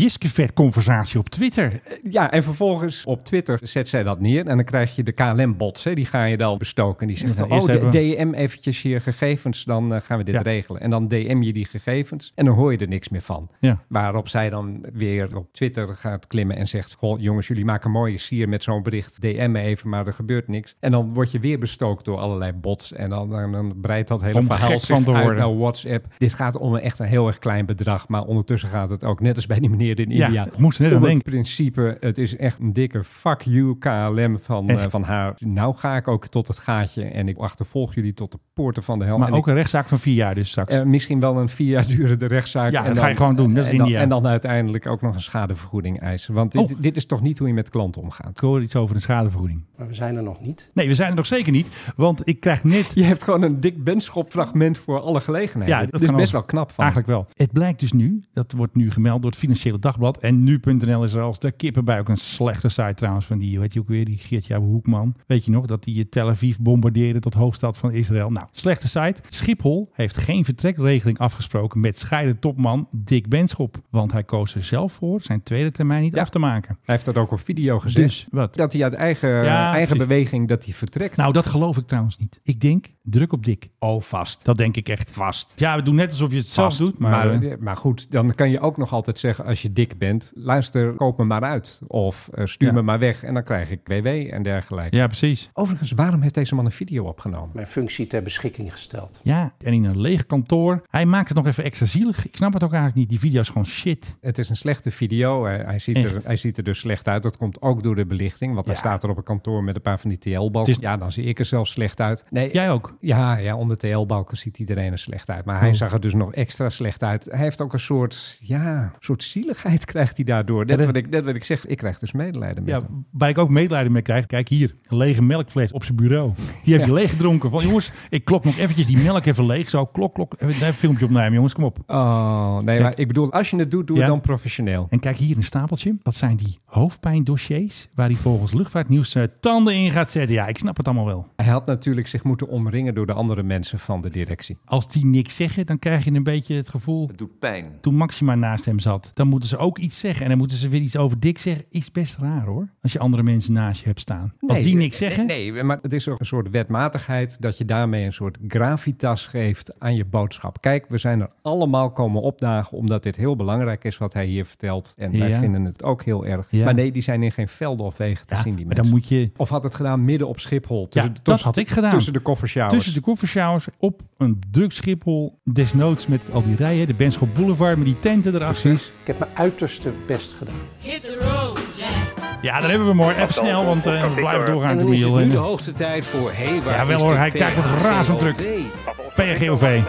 S9: Jiskevet-conversatie op Twitter.
S10: Ja, en vervolgens op Twitter zet zij dat neer. En dan krijg je de KLM-bots, hè, die ga je dan bestoken. Die zegt,
S9: Ja,
S10: dan, oh,
S9: eerst
S10: de-
S9: hebben
S10: DM eventjes je gegevens, dan eh, gaan we dit
S9: Ja.
S10: regelen. En dan DM je die gegevens en dan hoor je er niks meer van.
S9: Ja.
S10: Waarop zij dan weer op Twitter gaat klimmen en zegt... Goh, jongens, jullie maken mooie sier met zo'n bericht. DM me even, maar er gebeurt niks. En dan word je weer bestookt door allerlei bots. En dan, dan, dan breidt dat hele
S9: Om
S10: verhaal
S9: gek
S10: zich
S9: van te
S10: uit
S9: worden.
S10: naar WhatsApp. Dit gaat om een echt een heel erg klein bedrag. Maar ondertussen gaat het ook, net als bij die meneer in
S9: Ja,
S10: India...
S9: ik moest er net
S10: om
S9: aan
S10: het
S9: denken.
S10: principe, het is echt een dikke fuck you KLM van,
S9: Echt.
S10: eh, van haar. Nou ga ik ook tot het gaatje en ik achtervolg jullie tot de poorten van de hel.
S9: Maar
S10: En
S9: ook
S10: ik-
S9: een rechtszaak van vier jaar dus straks.
S10: eh, misschien wel een vier jaar durende rechtszaak.
S9: Ja, dat ga je gewoon doen. Dat is
S10: en dan,
S9: India.
S10: en dan uiteindelijk ook nog een schadevergoeding eisen. Want dit,
S9: Oh.
S10: dit is toch niet hoe je met klanten omgaat.
S9: ik hoor iets over een schadevergoeding.
S5: Maar we zijn er nog niet.
S9: Nee, we zijn er nog zeker niet. Want ik
S10: *laughs*
S9: krijg net...
S10: Je hebt gewoon een dik benschopfragment voor alle gelegenheden.
S9: Ja, dat
S10: dat is
S9: kan
S10: best
S9: ook. Ah.
S10: wel knap van.
S9: Eigenlijk wel. Het blijkt dus nu, dat wordt nu gemeld door het Financiële Dagblad. En nu.nl is er als de kippen bij. Ook een slechte site trouwens van die, weet je ook weer, die Geert-Jaap Hoekman. Weet je nog, dat die Tel Aviv bombardeerde tot hoofdstad van Israël. Nou, Nou, slechte site. Schiphol heeft geen vertrekregeling afgesproken met scheiden topman Dick Benschop. Want hij koos er zelf voor zijn tweede termijn niet af te maken.
S10: Hij heeft dat ook op video gezien.
S9: Dus wat?
S10: Dat hij uit eigen,
S9: Ja,
S10: eigen
S9: precies.
S10: beweging dat hij vertrekt.
S9: Nou, dat geloof ik trouwens niet. Ik denk, druk op Dick.
S10: Oh, vast.
S9: Dat denk ik echt.
S10: Vast.
S9: Ja, we doen net alsof je het
S10: Vast.
S9: zelf doet. Maar, eh,
S10: maar, goed, dan kan je ook nog altijd zeggen als je dik bent... luister, koop me maar uit. Of eh, stuur
S9: Ja.
S10: me maar weg en dan krijg ik WW en dergelijke.
S9: ja, precies.
S10: Overigens, waarom heeft deze man een video opgenomen?
S5: Mijn functie ter beschikking gesteld.
S9: Ja, en in een leeg kantoor. Hij maakt het nog even extra zielig. Ik snap het ook eigenlijk niet. Die video is gewoon shit.
S10: Het is een slechte video. Hij, hij, ziet,
S9: Echt.
S10: er, hij ziet er dus slecht uit. Dat komt ook door de belichting. Want hij staat er op een kantoor met een paar van die TL-balken.
S9: Het is-
S10: Ja, dan zie ik er zelfs slecht uit. Nee,
S9: Jij ook?
S10: Ja, ja, onder TL-balken ziet iedereen er slecht uit. Maar hij
S9: Oh.
S10: zag er dus nog extra slecht uit. Hij heeft ook een soort, ja, soort zieligheid *laughs* krijgt hij daardoor. Net
S9: dat-
S10: wat ik, net wat ik zeg, ik krijg dus medelijden met
S9: Ja,
S10: hem.
S9: waar ik ook medelijden mee krijg. Kijk hier, een lege melkfles op zijn bureau. Die heeft hij
S10: Ja.
S9: leeg gedronken. Van jongens, ik klop nog eventjes die melk even leeg. Zo, klok, klok. Even daar een filmpje opnemen, jongens, kom op.
S10: Oh, nee,
S9: Kijk.
S10: maar ik bedoel, als je het doet, doe
S9: Ja.
S10: het dan professioneel.
S9: En kijk hier een stapeltje. Dat zijn die hoofdpijndossiers waar hij volgens luchtvaartnieuws zijn tanden in gaat zetten. Ja, ik snap het allemaal wel.
S10: Hij had natuurlijk zich moeten omringen door de andere mensen van de directie.
S9: Als die niks zeggen, dan krijg je een beetje het gevoel...
S4: Het doet pijn.
S9: Toen Maxima naast hem zat, dan moeten ze ook iets zeggen. En dan moeten ze weer iets over Dick zeggen. Is best raar hoor, als je andere mensen naast je hebt staan. Als
S10: Nee,
S9: die niks
S10: nee,
S9: zeggen...
S10: Nee, maar het is ook een soort wetmatigheid dat je daarmee een soort gravitas geeft aan je boodschap. Kijk, we zijn er allemaal komen opdagen omdat dit heel belangrijk is wat hij hier vertelt. En wij
S9: Ja.
S10: vinden het ook heel erg.
S9: Ja.
S10: Maar nee, die zijn in geen velden of wegen te
S9: Ja,
S10: zien, die
S9: maar
S10: mensen.
S9: dan moet je...
S10: Of had het gedaan midden op Schiphol.
S9: Ja,
S10: Tussen,
S9: dat
S10: tussen-
S9: had ik gedaan.
S10: Tussen de koffershowers.
S9: Tussen de koffershowers op een druk Schiphol. Desnoods met al die rijen. De Benschop Boulevard met die tenten erachter.
S10: Precies.
S5: Ik heb mijn uiterste best gedaan.
S9: Ja, daar hebben we hem hoor. Even snel, want eh, we blijven doorgaan.
S3: En dan is het
S9: Camille.
S3: nu de hoogste tijd voor... Hey, waar
S9: Ja, wel
S3: is
S9: hoor,
S3: de
S9: hij krijgt het
S3: PHGOV?
S9: razend druk. PGOV.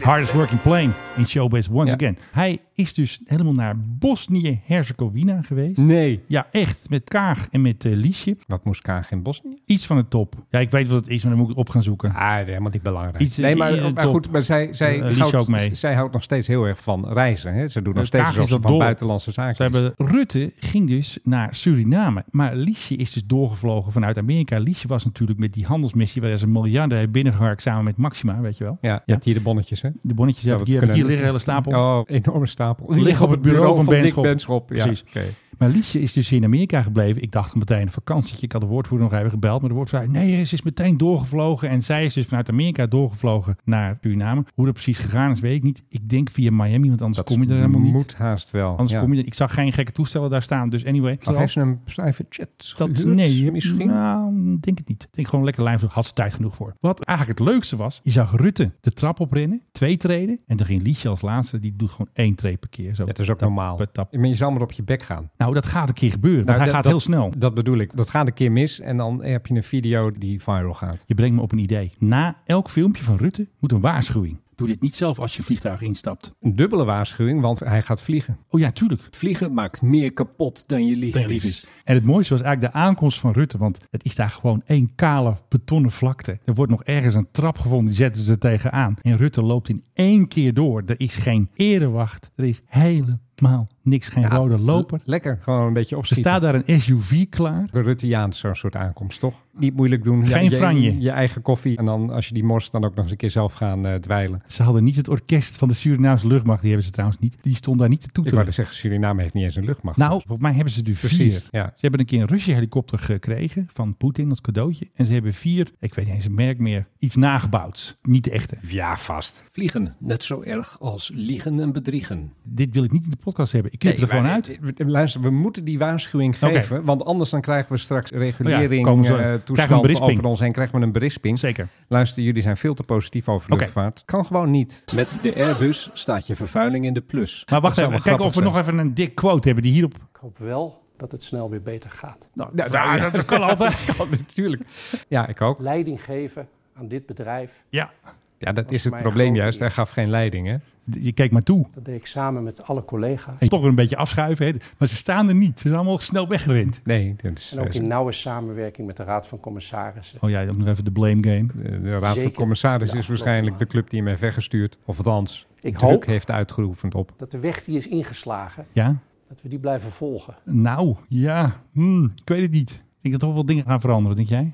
S9: Hardest working plane in showbiz once
S10: Ja.
S9: again. Hij is dus helemaal naar Bosnië-Herzegovina geweest.
S10: Nee.
S9: Ja, echt. Met Kaag en met eh, Liesje.
S10: Wat moest Kaag in Bosnië?
S9: Iets van de top. Ja, ik weet wat het is, maar dan moet ik het op gaan zoeken.
S10: Ah, helemaal niet belangrijk.
S9: Iets,
S10: nee, maar,
S9: eh,
S10: maar
S9: top.
S10: goed, maar zij, zij,
S9: Eh, Lies
S10: houdt,
S9: ook mee.
S10: zij houdt nog steeds heel erg van reizen. Hè? Ze doet nog
S9: Eh,
S10: steeds
S9: Kaag is
S10: alsof ze
S9: dat
S10: van
S9: dol.
S10: buitenlandse zaken
S9: Ze
S10: is.
S9: hebben, Rutte ging dus naar Suriname. Maar Liesje is dus doorgevlogen vanuit Amerika. Liesje was natuurlijk met die handelsmissie... waar ze een miljarden heeft binnengeharkt samen met Maxima, weet je wel.
S10: Ja, je hebt hier de bonnetjes, hè?
S9: De bonnetjes
S10: Ja,
S9: heb
S10: wat
S9: ik hier, heb
S10: kunnen-
S9: ik hier liggen, een hele stapel.
S10: Oh, enorme stapel.
S9: Die liggen op het bureau van
S10: Dick
S9: Benschop.
S10: Benschop. Ja,
S9: Precies.
S10: oké.
S9: Maar Liesje is dus in Amerika gebleven. Ik dacht meteen een vakantietje. Ik had de woordvoerder nog even gebeld. Maar de woordvoerder zei, nee, ze is meteen doorgevlogen. En zij is dus vanuit Amerika doorgevlogen naar Suriname. Hoe dat precies gegaan is, weet ik niet. Ik denk via Miami, want anders
S10: Dat
S9: kom je er helemaal niet.
S10: moet haast wel.
S9: Anders
S10: ja.
S9: kom je er- Ik zag geen gekke toestellen daar staan. Dus anyway.
S10: Of heeft ze een private jet
S9: Dat,
S10: gehuurd?
S9: nee,
S10: misschien.
S9: Nou, ik denk het niet. Ik denk gewoon lekker lijnvlucht. Had ze tijd genoeg voor. Wat eigenlijk het leukste was, je zag Rutte de trap oprennen. Twee treden. En dan ging Liesje als laatste. Die doet gewoon één treed per keer. Zo.
S10: Ja, dat is ook
S9: Tap,
S10: normaal.
S9: tap, tap.
S10: Maar je zou maar op je bek gaan.
S9: Nou, dat gaat een keer gebeuren.
S10: Nou,
S9: Want hij
S10: dat- dat-
S9: gaat heel snel.
S10: Dat bedoel ik. Dat gaat een keer mis en dan heb je een video die viral gaat.
S9: Je brengt me op een idee. Na elk filmpje van Rutte moet een waarschuwing. Doe dit niet zelf als je vliegtuig instapt.
S10: Een dubbele waarschuwing, want hij gaat vliegen.
S9: Oh ja, tuurlijk.
S10: Vliegen maakt meer kapot dan je lief
S9: Dat je lief is. En het mooiste was eigenlijk de aankomst van Rutte. Want het is daar gewoon één kale betonnen vlakte. Er wordt nog ergens een trap gevonden. Die zetten ze er tegenaan. En Rutte loopt in één keer door. Er is geen erewacht. Er is helemaal niks. Geen rode loper.
S10: Lekker, gewoon een beetje
S9: Er
S10: opschieten.
S9: staat daar een SUV klaar.
S10: De Rutteaans zo'n soort aankomst, toch? Niet moeilijk doen.
S9: Geen
S10: je,
S9: franje.
S10: Je eigen koffie. En dan als je die morst, dan ook nog eens een keer zelf gaan eh dweilen.
S9: Ze hadden niet het orkest van de Surinaamse luchtmacht. Die hebben ze trouwens niet. Die stond daar niet te
S10: Ik wou
S9: toeteren.
S10: dus zeggen, Suriname heeft niet eens een luchtmacht.
S9: Nou, volgens mij hebben ze er
S10: Precies,
S9: vier.
S10: ja.
S9: Ze hebben een keer een Russische helikopter gekregen van Poetin als cadeautje. En ze hebben vier, ik weet niet eens het merk meer, iets nagebouwd. Niet de echte.
S10: Ja, vast.
S14: Vliegen, net zo erg als liegen en bedriegen.
S9: Dit wil ik niet in de podcast hebben. Ik knip er gewoon uit.
S10: Luister, we moeten die waarschuwing
S9: Oké. Nou
S10: geven. Want anders dan krijgen we straks regulering, eh
S9: komen ze- krijgen we een
S10: toestand
S9: berisping.
S10: over ons heen. Krijgen we een berisping.
S9: Zeker.
S10: Luister, jullie zijn veel te positief over
S9: Oké.
S10: luchtvaart. Kan gewoon niet.
S14: Met de Airbus staat je vervuiling in de plus.
S9: Maar wacht
S10: zou
S9: even,
S10: wel
S9: kijken of we
S10: grappig
S9: nog even een dik quote hebben die hierop...
S5: Ik hoop wel dat het snel weer beter gaat.
S10: Nou,
S9: Ja, dat kan altijd.
S10: *laughs* natuurlijk. Ja, ik ook.
S5: Leiding geven aan dit bedrijf,
S9: *laughs* Ja,
S10: Ja, dat is het
S5: mij
S10: probleem
S5: groot
S10: juist.
S5: hier.
S10: Hij gaf geen leiding, hè?
S9: je keek maar toe.
S5: dat deed ik samen met alle collega's.
S9: En toch een beetje afschuiven. Hè. Maar ze staan er niet. Ze zijn allemaal snel weggerend.
S10: Nee, dat is
S5: En ook
S10: eh,
S5: in nauwe samenwerking met de Raad van Commissarissen.
S9: Oh ja, ook nog even de blame game.
S10: De Raad van
S5: Zeker.
S10: Commissarissen
S5: Ja,
S10: is waarschijnlijk de
S5: klopt.
S10: club die hem heeft weggestuurd. Of althans,
S5: Ik
S10: druk
S5: hoop-
S10: heeft uitgeoefend op.
S5: Dat de weg die is ingeslagen,
S9: Ja?
S5: dat we die blijven volgen.
S9: Nou, ja. Hmm, ik weet het niet. Ik denk dat toch wel dingen gaan veranderen, denk jij?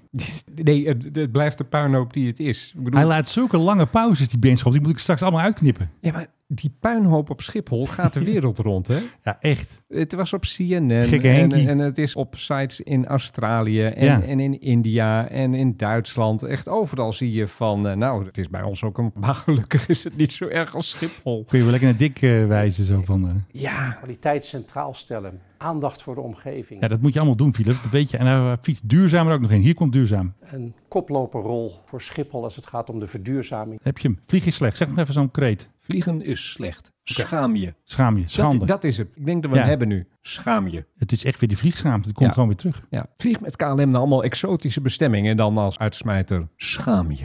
S10: Nee, het, het blijft de puinhoop die het is. Ik bedoel-
S9: Hij laat zulke lange pauzes, die Benschop. Die moet ik straks allemaal uitknippen.
S10: Ja, maar die puinhoop op Schiphol gaat de *laughs* wereld rond, hè?
S9: Ja, echt.
S10: Het was op CNN
S9: Gekke
S10: en,
S9: Henkie.
S10: en het is op sites in Australië en,
S9: Ja.
S10: en in India en in Duitsland. Echt overal zie je van, eh, nou, het is bij ons ook een... *laughs* Maar gelukkig is het niet zo erg als Schiphol.
S9: Kun je wel lekker naar dik eh, wijzen, zo van... eh,
S10: Ja.
S5: Kwaliteit centraal stellen. Aandacht voor de omgeving.
S9: Ja, dat moet je allemaal doen, Philip. Dat weet je. En hij fietst duurzaam er ook nog in. Hier komt duurzaam.
S5: Een koploperrol voor Schiphol als het gaat om de verduurzaming.
S9: Heb je hem. Vlieg is slecht. Zeg nog even zo'n kreet.
S14: Vliegen is slecht. Schaam je.
S9: Schaam je. Schande.
S14: Dat,
S10: dat is het. Ik denk dat we
S9: Ja.
S10: hem hebben nu. Schaam je.
S9: Het is echt weer die vliegschaamte. Het komt
S10: Ja.
S9: gewoon weer terug.
S10: Ja, vlieg met KLM naar allemaal exotische bestemmingen en dan als uitsmijter schaam je.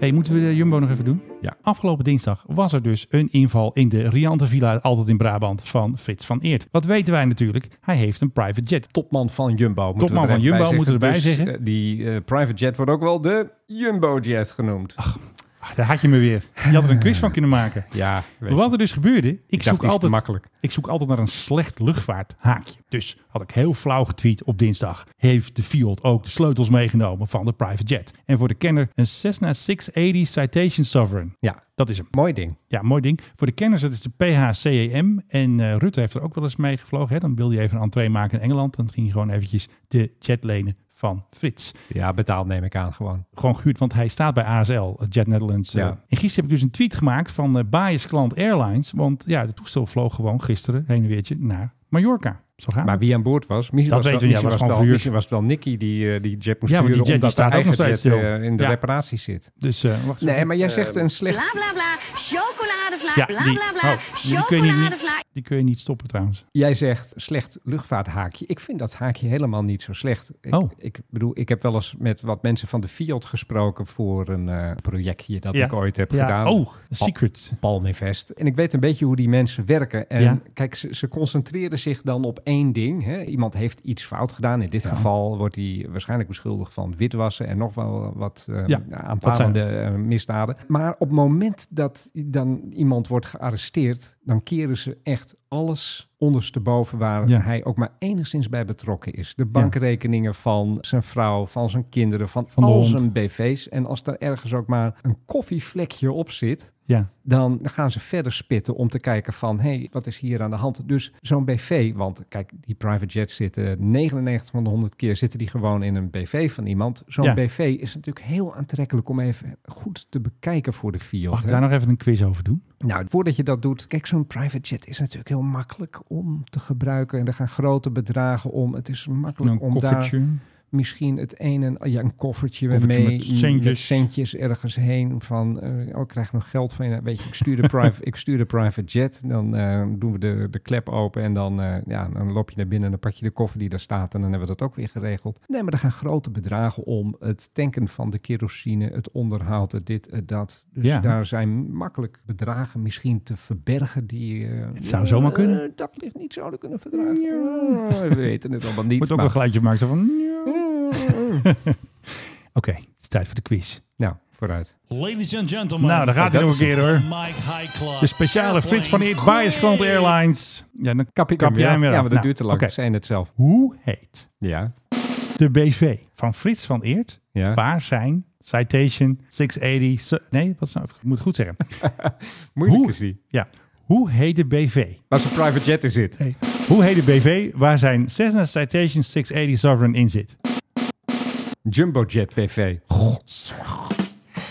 S9: hey, moeten we de Jumbo nog even doen?
S10: Ja.
S9: Afgelopen dinsdag was er dus een inval in de riante villa, altijd in Brabant, van Frits van Eert. Wat weten wij natuurlijk? Hij heeft een private jet.
S10: Topman van Jumbo. moeten
S9: Topman
S10: we er
S9: van
S10: even
S9: Jumbo,
S10: bij
S9: moeten we erbij
S10: Dus,
S9: zeggen.
S10: eh, die eh, private jet wordt ook wel de Jumbo jet genoemd.
S9: Ah, daar had je me weer. Je had er een quiz van kunnen maken.
S10: *laughs* Ja, weet
S9: Wat er dus gebeurde, ik,
S10: dacht,
S9: zoek
S10: die is te
S9: altijd,
S10: makkelijk.
S9: ik zoek altijd naar een slecht luchtvaarthaakje. Dus had ik heel flauw getweet op dinsdag. Heeft de Fiat ook de sleutels meegenomen van de private jet? En voor de kenner een Cessna 680 Citation Sovereign.
S10: Ja.
S9: Dat is hem.
S10: Mooi ding.
S9: Ja, mooi ding. Voor de kenners, dat is de PHCEM. En eh, Rutte heeft er ook wel eens mee gevlogen. Hè? Dan wilde hij even een entree maken in Engeland. Dan ging hij gewoon eventjes de jet lenen van Frits.
S10: Ja, betaald neem ik aan gewoon.
S9: Gewoon gehuurd, want hij staat bij ASL, eh, Jet Netherlands. eh.
S10: Ja.
S9: En gisteren heb ik dus een tweet gemaakt van eh Bias Klant Airlines. Want ja, de toestel vloog gewoon gisteren heen en weertje naar Mallorca. Zo gaat
S10: Maar
S9: het.
S10: wie aan boord was, misschien
S9: Dat
S10: was,
S9: weten we
S10: wel,
S9: niet,
S10: misschien
S9: hij was
S10: was,
S9: gewoon
S10: wel,
S9: verhuurd.
S10: misschien was het wel Nicky die, eh, die jet moest
S9: Ja, want die
S10: sturen, omdat
S9: jet die staat
S10: haar
S9: ook nog
S10: eigen jet
S9: steeds stil.
S10: eh, in de
S9: Ja.
S10: reparatie zit.
S9: Dus eh, wacht
S10: Nee,
S9: even.
S10: maar jij zegt een
S1: Ehm,
S10: slecht...
S15: Bla bla bla, chocoladevla,
S9: Ja,
S15: bla
S9: die.
S15: bla
S9: Oh,
S15: bla,
S9: die, kun je niet,
S15: chocoladevla.
S9: die kun je niet stoppen trouwens.
S10: Jij zegt slecht luchtvaarthaakje. Ik vind dat haakje helemaal niet zo slecht. Ik,
S9: Oh.
S10: ik bedoel, ik heb wel eens met wat mensen van de Fiat gesproken voor een eh, projectje dat
S9: Ja.
S10: ik ooit heb
S9: Ja.
S10: gedaan.
S9: Oh, Secret.
S10: Palmevest. En ik weet een beetje hoe die mensen werken. En
S9: Ja.
S10: kijk, ze, ze concentreren zich dan op één ding. Hè. Iemand heeft iets fout gedaan. In dit geval wordt hij waarschijnlijk beschuldigd van witwassen en nog wel wat eh
S9: Ja,
S10: aanpalende eh, misdaden. Maar op het moment dat dan iemand wordt gearresteerd, dan keren ze echt alles ondersteboven waar
S9: Ja.
S10: hij ook maar enigszins bij betrokken is. De bankrekeningen van zijn vrouw, van zijn kinderen, van,
S9: Van de
S10: al
S9: hond.
S10: zijn bv's. En als daar ergens ook maar een koffievlekje op zit,
S9: Ja.
S10: dan gaan ze verder spitten om te kijken van... hé, hey, wat is hier aan de hand? Dus zo'n BV, want kijk, die private jets zitten... 99 van de 100 keer zitten die gewoon in een BV van iemand. Zo'n
S9: Ja.
S10: BV is natuurlijk heel aantrekkelijk om even goed te bekijken voor de Fiat.
S9: Mag ik
S10: hè?
S9: daar nou- nog even een quiz over doen?
S10: Nou, voordat je dat doet... Kijk, zo'n private jet is natuurlijk heel makkelijk om te gebruiken. En er gaan grote bedragen om. Het is makkelijk
S9: Een
S10: om daar
S9: koffertje.
S10: misschien het een en ja, een koffertje,
S9: Koffertje
S10: mee,
S9: met centjes.
S10: met centjes ergens heen van, eh, oh, ik krijg nog geld van je. Nou, Weet je, ik
S9: *laughs*
S10: stuur de private, ik stuur de private jet, dan eh, doen we de, de klep open en dan, eh, ja, dan loop je naar binnen en dan pak je de koffer die daar staat en dan hebben we dat ook weer geregeld. Nee, maar er gaan grote bedragen om, het tanken van de kerosine, het onderhoud, het dit, het dat. Dus
S9: Ja.
S10: daar zijn makkelijk bedragen misschien te verbergen die... eh,
S9: Het zou zomaar kunnen.
S10: eh, daglicht niet zouden kunnen verdragen. Eh, we weten het allemaal niet.
S9: Moet ook
S10: maar- Mm.
S9: een geluidje maken zo van...
S10: *laughs*
S9: Oké, het is tijd voor de quiz.
S10: Nou, vooruit.
S13: Ladies and gentlemen.
S9: Nou, daar gaat hij nog een keer hoor.
S13: Mike High Club.
S9: De speciale Frits van Eert Bias Klant Airlines. Ja, dan kap,
S10: Kap
S9: jij hem weer
S10: Ja,
S9: af.
S10: maar dat
S9: Nou,
S10: duurt te lang.
S9: oké.
S10: Ze Zijn het zelf.
S9: Hoe heet
S10: Ja.
S9: de BV van Frits van Eert?
S10: Ja.
S9: Waar zijn Citation 680... Su- Nee, wat is nou? Ik moet het goed zeggen.
S10: Moeilijk
S9: Hoe-
S10: is die.
S9: Ja. Hoe heet de BV?
S10: Als een private jet in zit.
S9: Hoe heet de BV waar zijn Cessna Citation 680 Sovereign in zit?
S10: Jumbo Jet PV.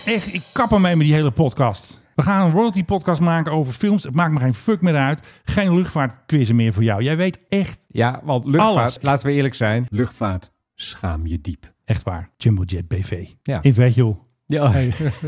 S9: Echt, ik kap ermee met die hele podcast. We gaan een royalty podcast maken over films. Het maakt me geen fuck meer uit. Geen luchtvaartquizzen meer voor jou. Jij weet echt,
S10: Ja, want luchtvaart,
S9: Alles.
S10: laten we eerlijk zijn. Luchtvaart, schaam je diep.
S9: echt waar. Jumbo Jet BV.
S10: Ja.
S9: In Veghel.
S10: Ja.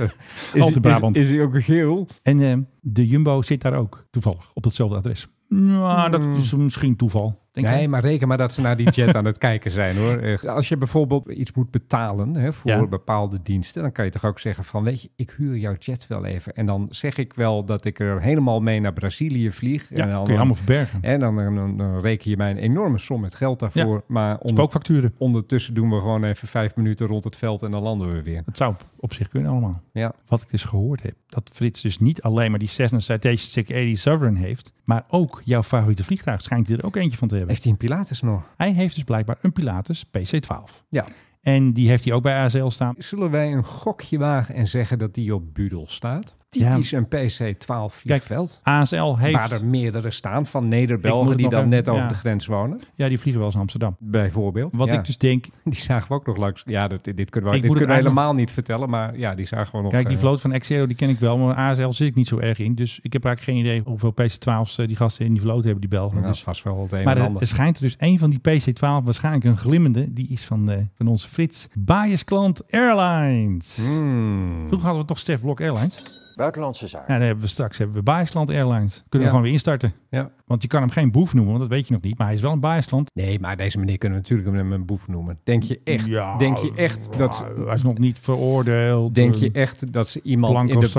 S9: *laughs* Al te Brabant.
S10: *laughs* Is, is hij ook geel?
S9: En eh, de Jumbo zit daar ook, toevallig, op datzelfde adres. Nou, dat is misschien toeval. Denk
S10: Hmm. nee,
S9: ik.
S10: maar reken maar dat ze naar die jet aan het *laughs* kijken zijn hoor. Echt. Als je bijvoorbeeld iets moet betalen hè, voor
S9: Ja.
S10: bepaalde diensten, dan kan je toch ook zeggen van weet je, ik huur jouw jet wel even. En dan zeg ik wel dat ik er helemaal mee naar Brazilië vlieg.
S9: Ja,
S10: en dan,
S9: kun je allemaal verbergen.
S10: En dan, dan, dan reken je mij een enorme som met geld daarvoor.
S9: Ja.
S10: Maar onder-
S9: Spookfacturen.
S10: ondertussen doen we gewoon even vijf minuten rond het veld en dan landen we weer.
S9: Het zou op- op zich kunnen allemaal.
S10: Ja.
S9: Wat ik dus gehoord heb, dat Frits dus niet alleen maar die Cessna Citation 680 Sovereign heeft, maar ook jouw favoriete vliegtuig schijnt hij er ook eentje van te hebben.
S10: Heeft hij een Pilatus nog?
S9: Hij heeft dus blijkbaar een Pilatus PC12.
S10: Ja.
S9: En die heeft hij ook bij ACL staan.
S10: Zullen wij een gokje wagen en zeggen dat die op Budel staat? Typisch een PC-12 vliegveld.
S9: ASL heeft...
S10: Waar er meerdere staan van
S9: Ik moet
S10: Neder-Belgen
S9: het
S10: die
S9: nog
S10: dan
S9: even-
S10: net over
S9: ja.
S10: de grens wonen.
S9: Ja, die vliegen wel eens Amsterdam.
S10: Bijvoorbeeld.
S9: Wat
S10: ja.
S9: ik dus denk...
S10: *laughs* Die zagen we ook nog langs. Ja, dat, dit kunnen we,
S9: Ik
S10: dit
S9: moet
S10: kunnen
S9: het
S10: we
S9: eigenlijk-
S10: helemaal niet vertellen. Maar ja, die zagen we nog.
S9: Kijk, die
S10: eh,
S9: vloot van Exero die ken ik wel, maar ASL zit ik niet zo erg in. Dus ik heb eigenlijk geen idee hoeveel PC12's eh, die gasten in die vloot hebben, die Belgen.
S10: Ja,
S9: dus,
S10: vast wel het een
S9: maar
S10: en
S9: er-
S10: ander.
S9: er schijnt er dus een van die PC12, waarschijnlijk een glimmende, die is van, eh, van onze Frits. Bias Klant Airlines.
S10: Hmm.
S9: Vroeger hadden we toch Stef Blok Airlines?
S16: Buitenlandse zaak.
S9: Ja, dan hebben we straks hebben we Biasland Airlines. Kunnen we
S10: Ja.
S9: gewoon weer instarten.
S10: Ja.
S9: Want je kan hem geen boef noemen, want dat weet je nog niet. Maar hij is wel een Biasland.
S10: Nee, maar deze meneer kunnen we natuurlijk hem een boef noemen. Denk je echt?
S9: Ja, Nou,
S10: denk je echt dat?
S9: Hij is nog niet veroordeeld.
S10: Denk je echt dat ze iemand in de,
S9: Blanco
S10: in de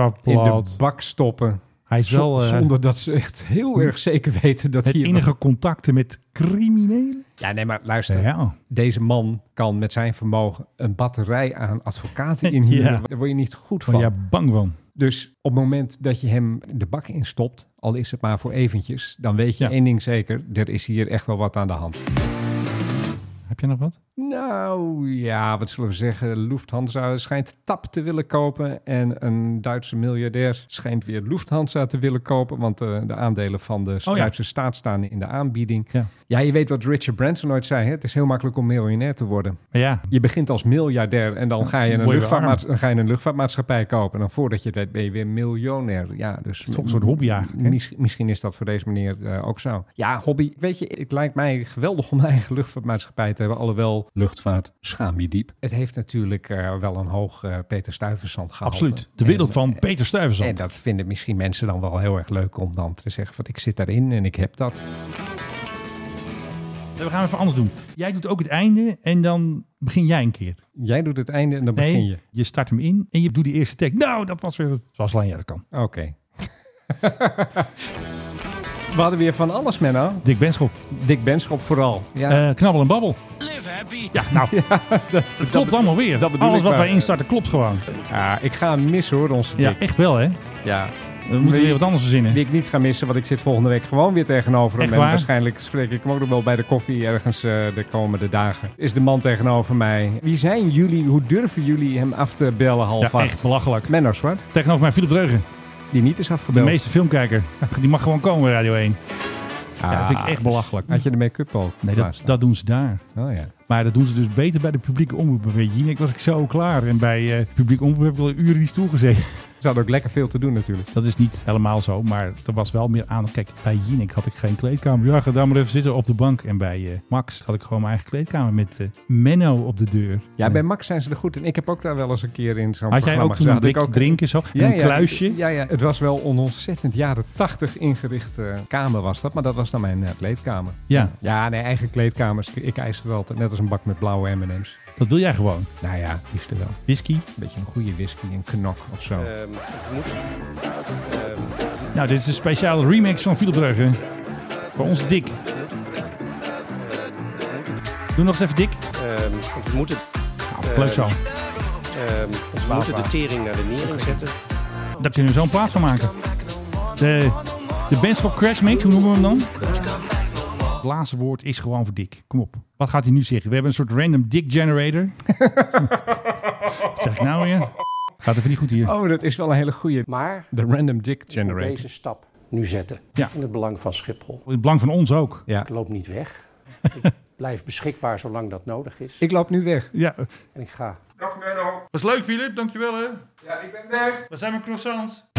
S9: strafblad.
S10: bak stoppen?
S9: Hij is wel, eh,
S10: zonder dat ze echt heel erg zeker weten dat
S9: Het
S10: hij
S9: enige contacten met criminelen.
S10: Ja, nee, maar luister.
S9: Ja.
S10: Deze man kan met zijn vermogen een batterij aan advocaten inhuren.
S9: *laughs* Ja.
S10: Daar word je niet goed
S9: Van
S10: van.
S9: ja, bang van.
S10: Dus op het moment dat je hem de bak instopt, al is het maar voor eventjes, dan weet je
S9: Ja.
S10: één ding zeker, er is hier echt wel wat aan de hand.
S9: Heb je nog wat?
S10: Nou ja, wat zullen we zeggen? Lufthansa schijnt TAP te willen kopen. En een Duitse miljardair schijnt weer Lufthansa te willen kopen. Want eh, de aandelen van de
S9: Oh ja.
S10: Duitse staat staan in de aanbieding.
S9: Ja.
S10: je weet wat Richard Branson ooit zei. Hè? Het is heel makkelijk om miljonair te worden.
S9: Maar ja,
S10: Je begint als miljardair en dan ga je een,
S9: Word je
S10: luchtvaartmaats- dan ga je een luchtvaartmaatschappij kopen. En dan voordat je het weet ben je weer miljonair. Ja, dus
S9: is toch een soort hobby eigenlijk, hè?
S10: mis- misschien is dat voor deze meneer eh, ook zo. Ja, hobby. Weet je, het lijkt mij geweldig om een eigen luchtvaartmaatschappij te hebben. Alhoewel,
S14: Luchtvaart, schaam je diep.
S10: het heeft natuurlijk eh, wel een hoog eh, Peter Stuyvesant gehaald.
S9: absoluut. De
S10: En-
S9: wereld
S10: eh,
S9: van Peter Stuyvesant.
S10: En dat vinden misschien mensen dan wel heel erg leuk om dan te zeggen van ik zit daarin en ik heb dat.
S9: We gaan even anders doen. Jij doet ook het einde en dan begin jij een keer.
S10: Jij doet het einde en dan
S9: Nee,
S10: begin je.
S9: je start hem in en je doet die eerste take. Nou, dat was weer zoals alleen jij dat kan.
S10: Oké. *laughs* We hadden weer van alles, Menno.
S9: Dick Benschop.
S10: Dick Benschop vooral. Ja.
S9: Eh, knabbel en babbel. Live happy. Ja, nou.
S10: *laughs*
S9: het klopt allemaal weer.
S10: dat bedoel
S9: Alles
S10: ik
S9: wat
S10: maar.
S9: wij instarten klopt gewoon.
S10: Ja, Eh, ah, ik ga hem missen hoor, onze
S9: Ja,
S10: Dick.
S9: echt wel hè.
S10: Ja.
S9: We moeten weer wat anders verzinnen.
S10: Die ik niet ga missen, want ik zit volgende week gewoon weer tegenover hem.
S9: Echt
S10: en
S9: waar?
S10: waarschijnlijk spreek ik hem ook nog wel bij de koffie ergens eh, de komende dagen. Is de man tegenover mij. Wie zijn jullie? Hoe durven jullie hem af te bellen
S9: Ja,
S10: half
S9: echt
S10: acht?
S9: belachelijk.
S10: Menno Zwart,
S9: Tegenover mij Philip Dreugen.
S10: die niet is
S9: De
S10: afgebeld.
S9: meeste filmkijker. *laughs* Die mag gewoon komen bij Radio 1. Ja, dat vind ik
S10: Ah,
S9: echt belachelijk.
S10: Had je de make-up al?
S9: Nee, dat,
S10: klaarstaan?
S9: dat doen ze daar.
S10: Oh ja.
S9: Maar dat doen ze dus beter bij de publieke omroep. Bij Jinek was ik zo klaar. En bij eh, publieke omroep heb ik al een uur in die stoel gezeten. *laughs*
S10: Ze hadden ook lekker veel te doen natuurlijk.
S9: Dat is niet helemaal zo, maar er was wel meer aan. Kijk, bij Jinek had ik geen kleedkamer. Ja, ga daar maar even zitten op de bank. En bij eh, Max had ik gewoon mijn eigen kleedkamer met eh, Menno op de deur.
S10: Ja,
S9: En,
S10: bij
S9: eh,
S10: Max zijn ze er goed. En ik heb ook daar wel eens een keer in zo'n
S9: Had jij
S10: programma
S9: ook toen
S10: gezeten.
S9: een blik
S10: Had ik ook- eh,
S9: drinken zo? En een kluisje?
S10: Ja, ja, het was wel een ontzettend jaren tachtig ingerichte kamer was dat. Maar dat was dan mijn eh, kleedkamer.
S9: Ja,
S10: Ja, nee, eigen kleedkamers. Ik eis het altijd net als een bak met blauwe M&M's.
S9: dat wil jij gewoon.
S10: Nou ja, liefst wel. Een
S9: Whisky.
S10: beetje een goede whisky, een knok of zo.
S12: Ehm, het moet, ehm,
S9: Nou, dit is een speciale remix van Philip Brugge. Bij ons dik. Doe nog eens even dik.
S12: ehm, we moeten,
S2: Eh,
S9: Nou, leuk zo.
S12: ehm, we moeten de tering naar de niering zetten.
S9: Daar kunnen we zo'n plaat van maken. De, de Benschop Crash Mix, hoe noemen we hem dan? Het laatste woord is gewoon voor Dick. Kom op. Wat gaat hij nu zeggen? We hebben een soort random Dick
S2: *laughs*
S9: generator. Wat zeg ik nou weer? Gaat even niet goed hier.
S10: Oh, dat is wel een hele goede.
S12: Maar
S10: De Random Dick
S12: we moeten
S10: Generator.
S12: deze stap nu zetten.
S9: Ja.
S12: In het belang van Schiphol.
S9: In het belang van ons ook.
S10: Ja.
S12: Ik loop niet
S9: *laughs*
S12: weg. Ik blijf beschikbaar zolang dat nodig is.
S10: Ik loop nu weg.
S9: Ja,
S12: En ik ga.
S2: Was leuk, Filip. Dankjewel, hè. Ja, ik ben weg. Waar zijn mijn croissants?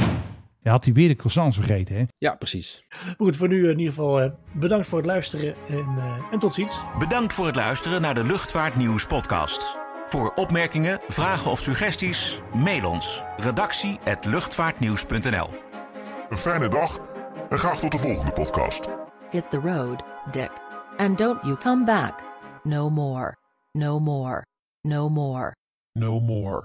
S9: ja had hij weer de croissants vergeten, hè?
S17: Ja, precies.
S2: Goed, voor nu eh, in ieder geval eh, bedankt voor het luisteren en, eh, en tot ziens.
S18: Bedankt voor het luisteren naar de Luchtvaartnieuws podcast. Voor opmerkingen, vragen of suggesties, mail ons redactie@luchtvaartnieuws.nl.
S19: Een fijne dag en graag tot de volgende podcast.
S1: Hit the road, Dick. And don't you come back. No more. No more. No more.
S19: No more.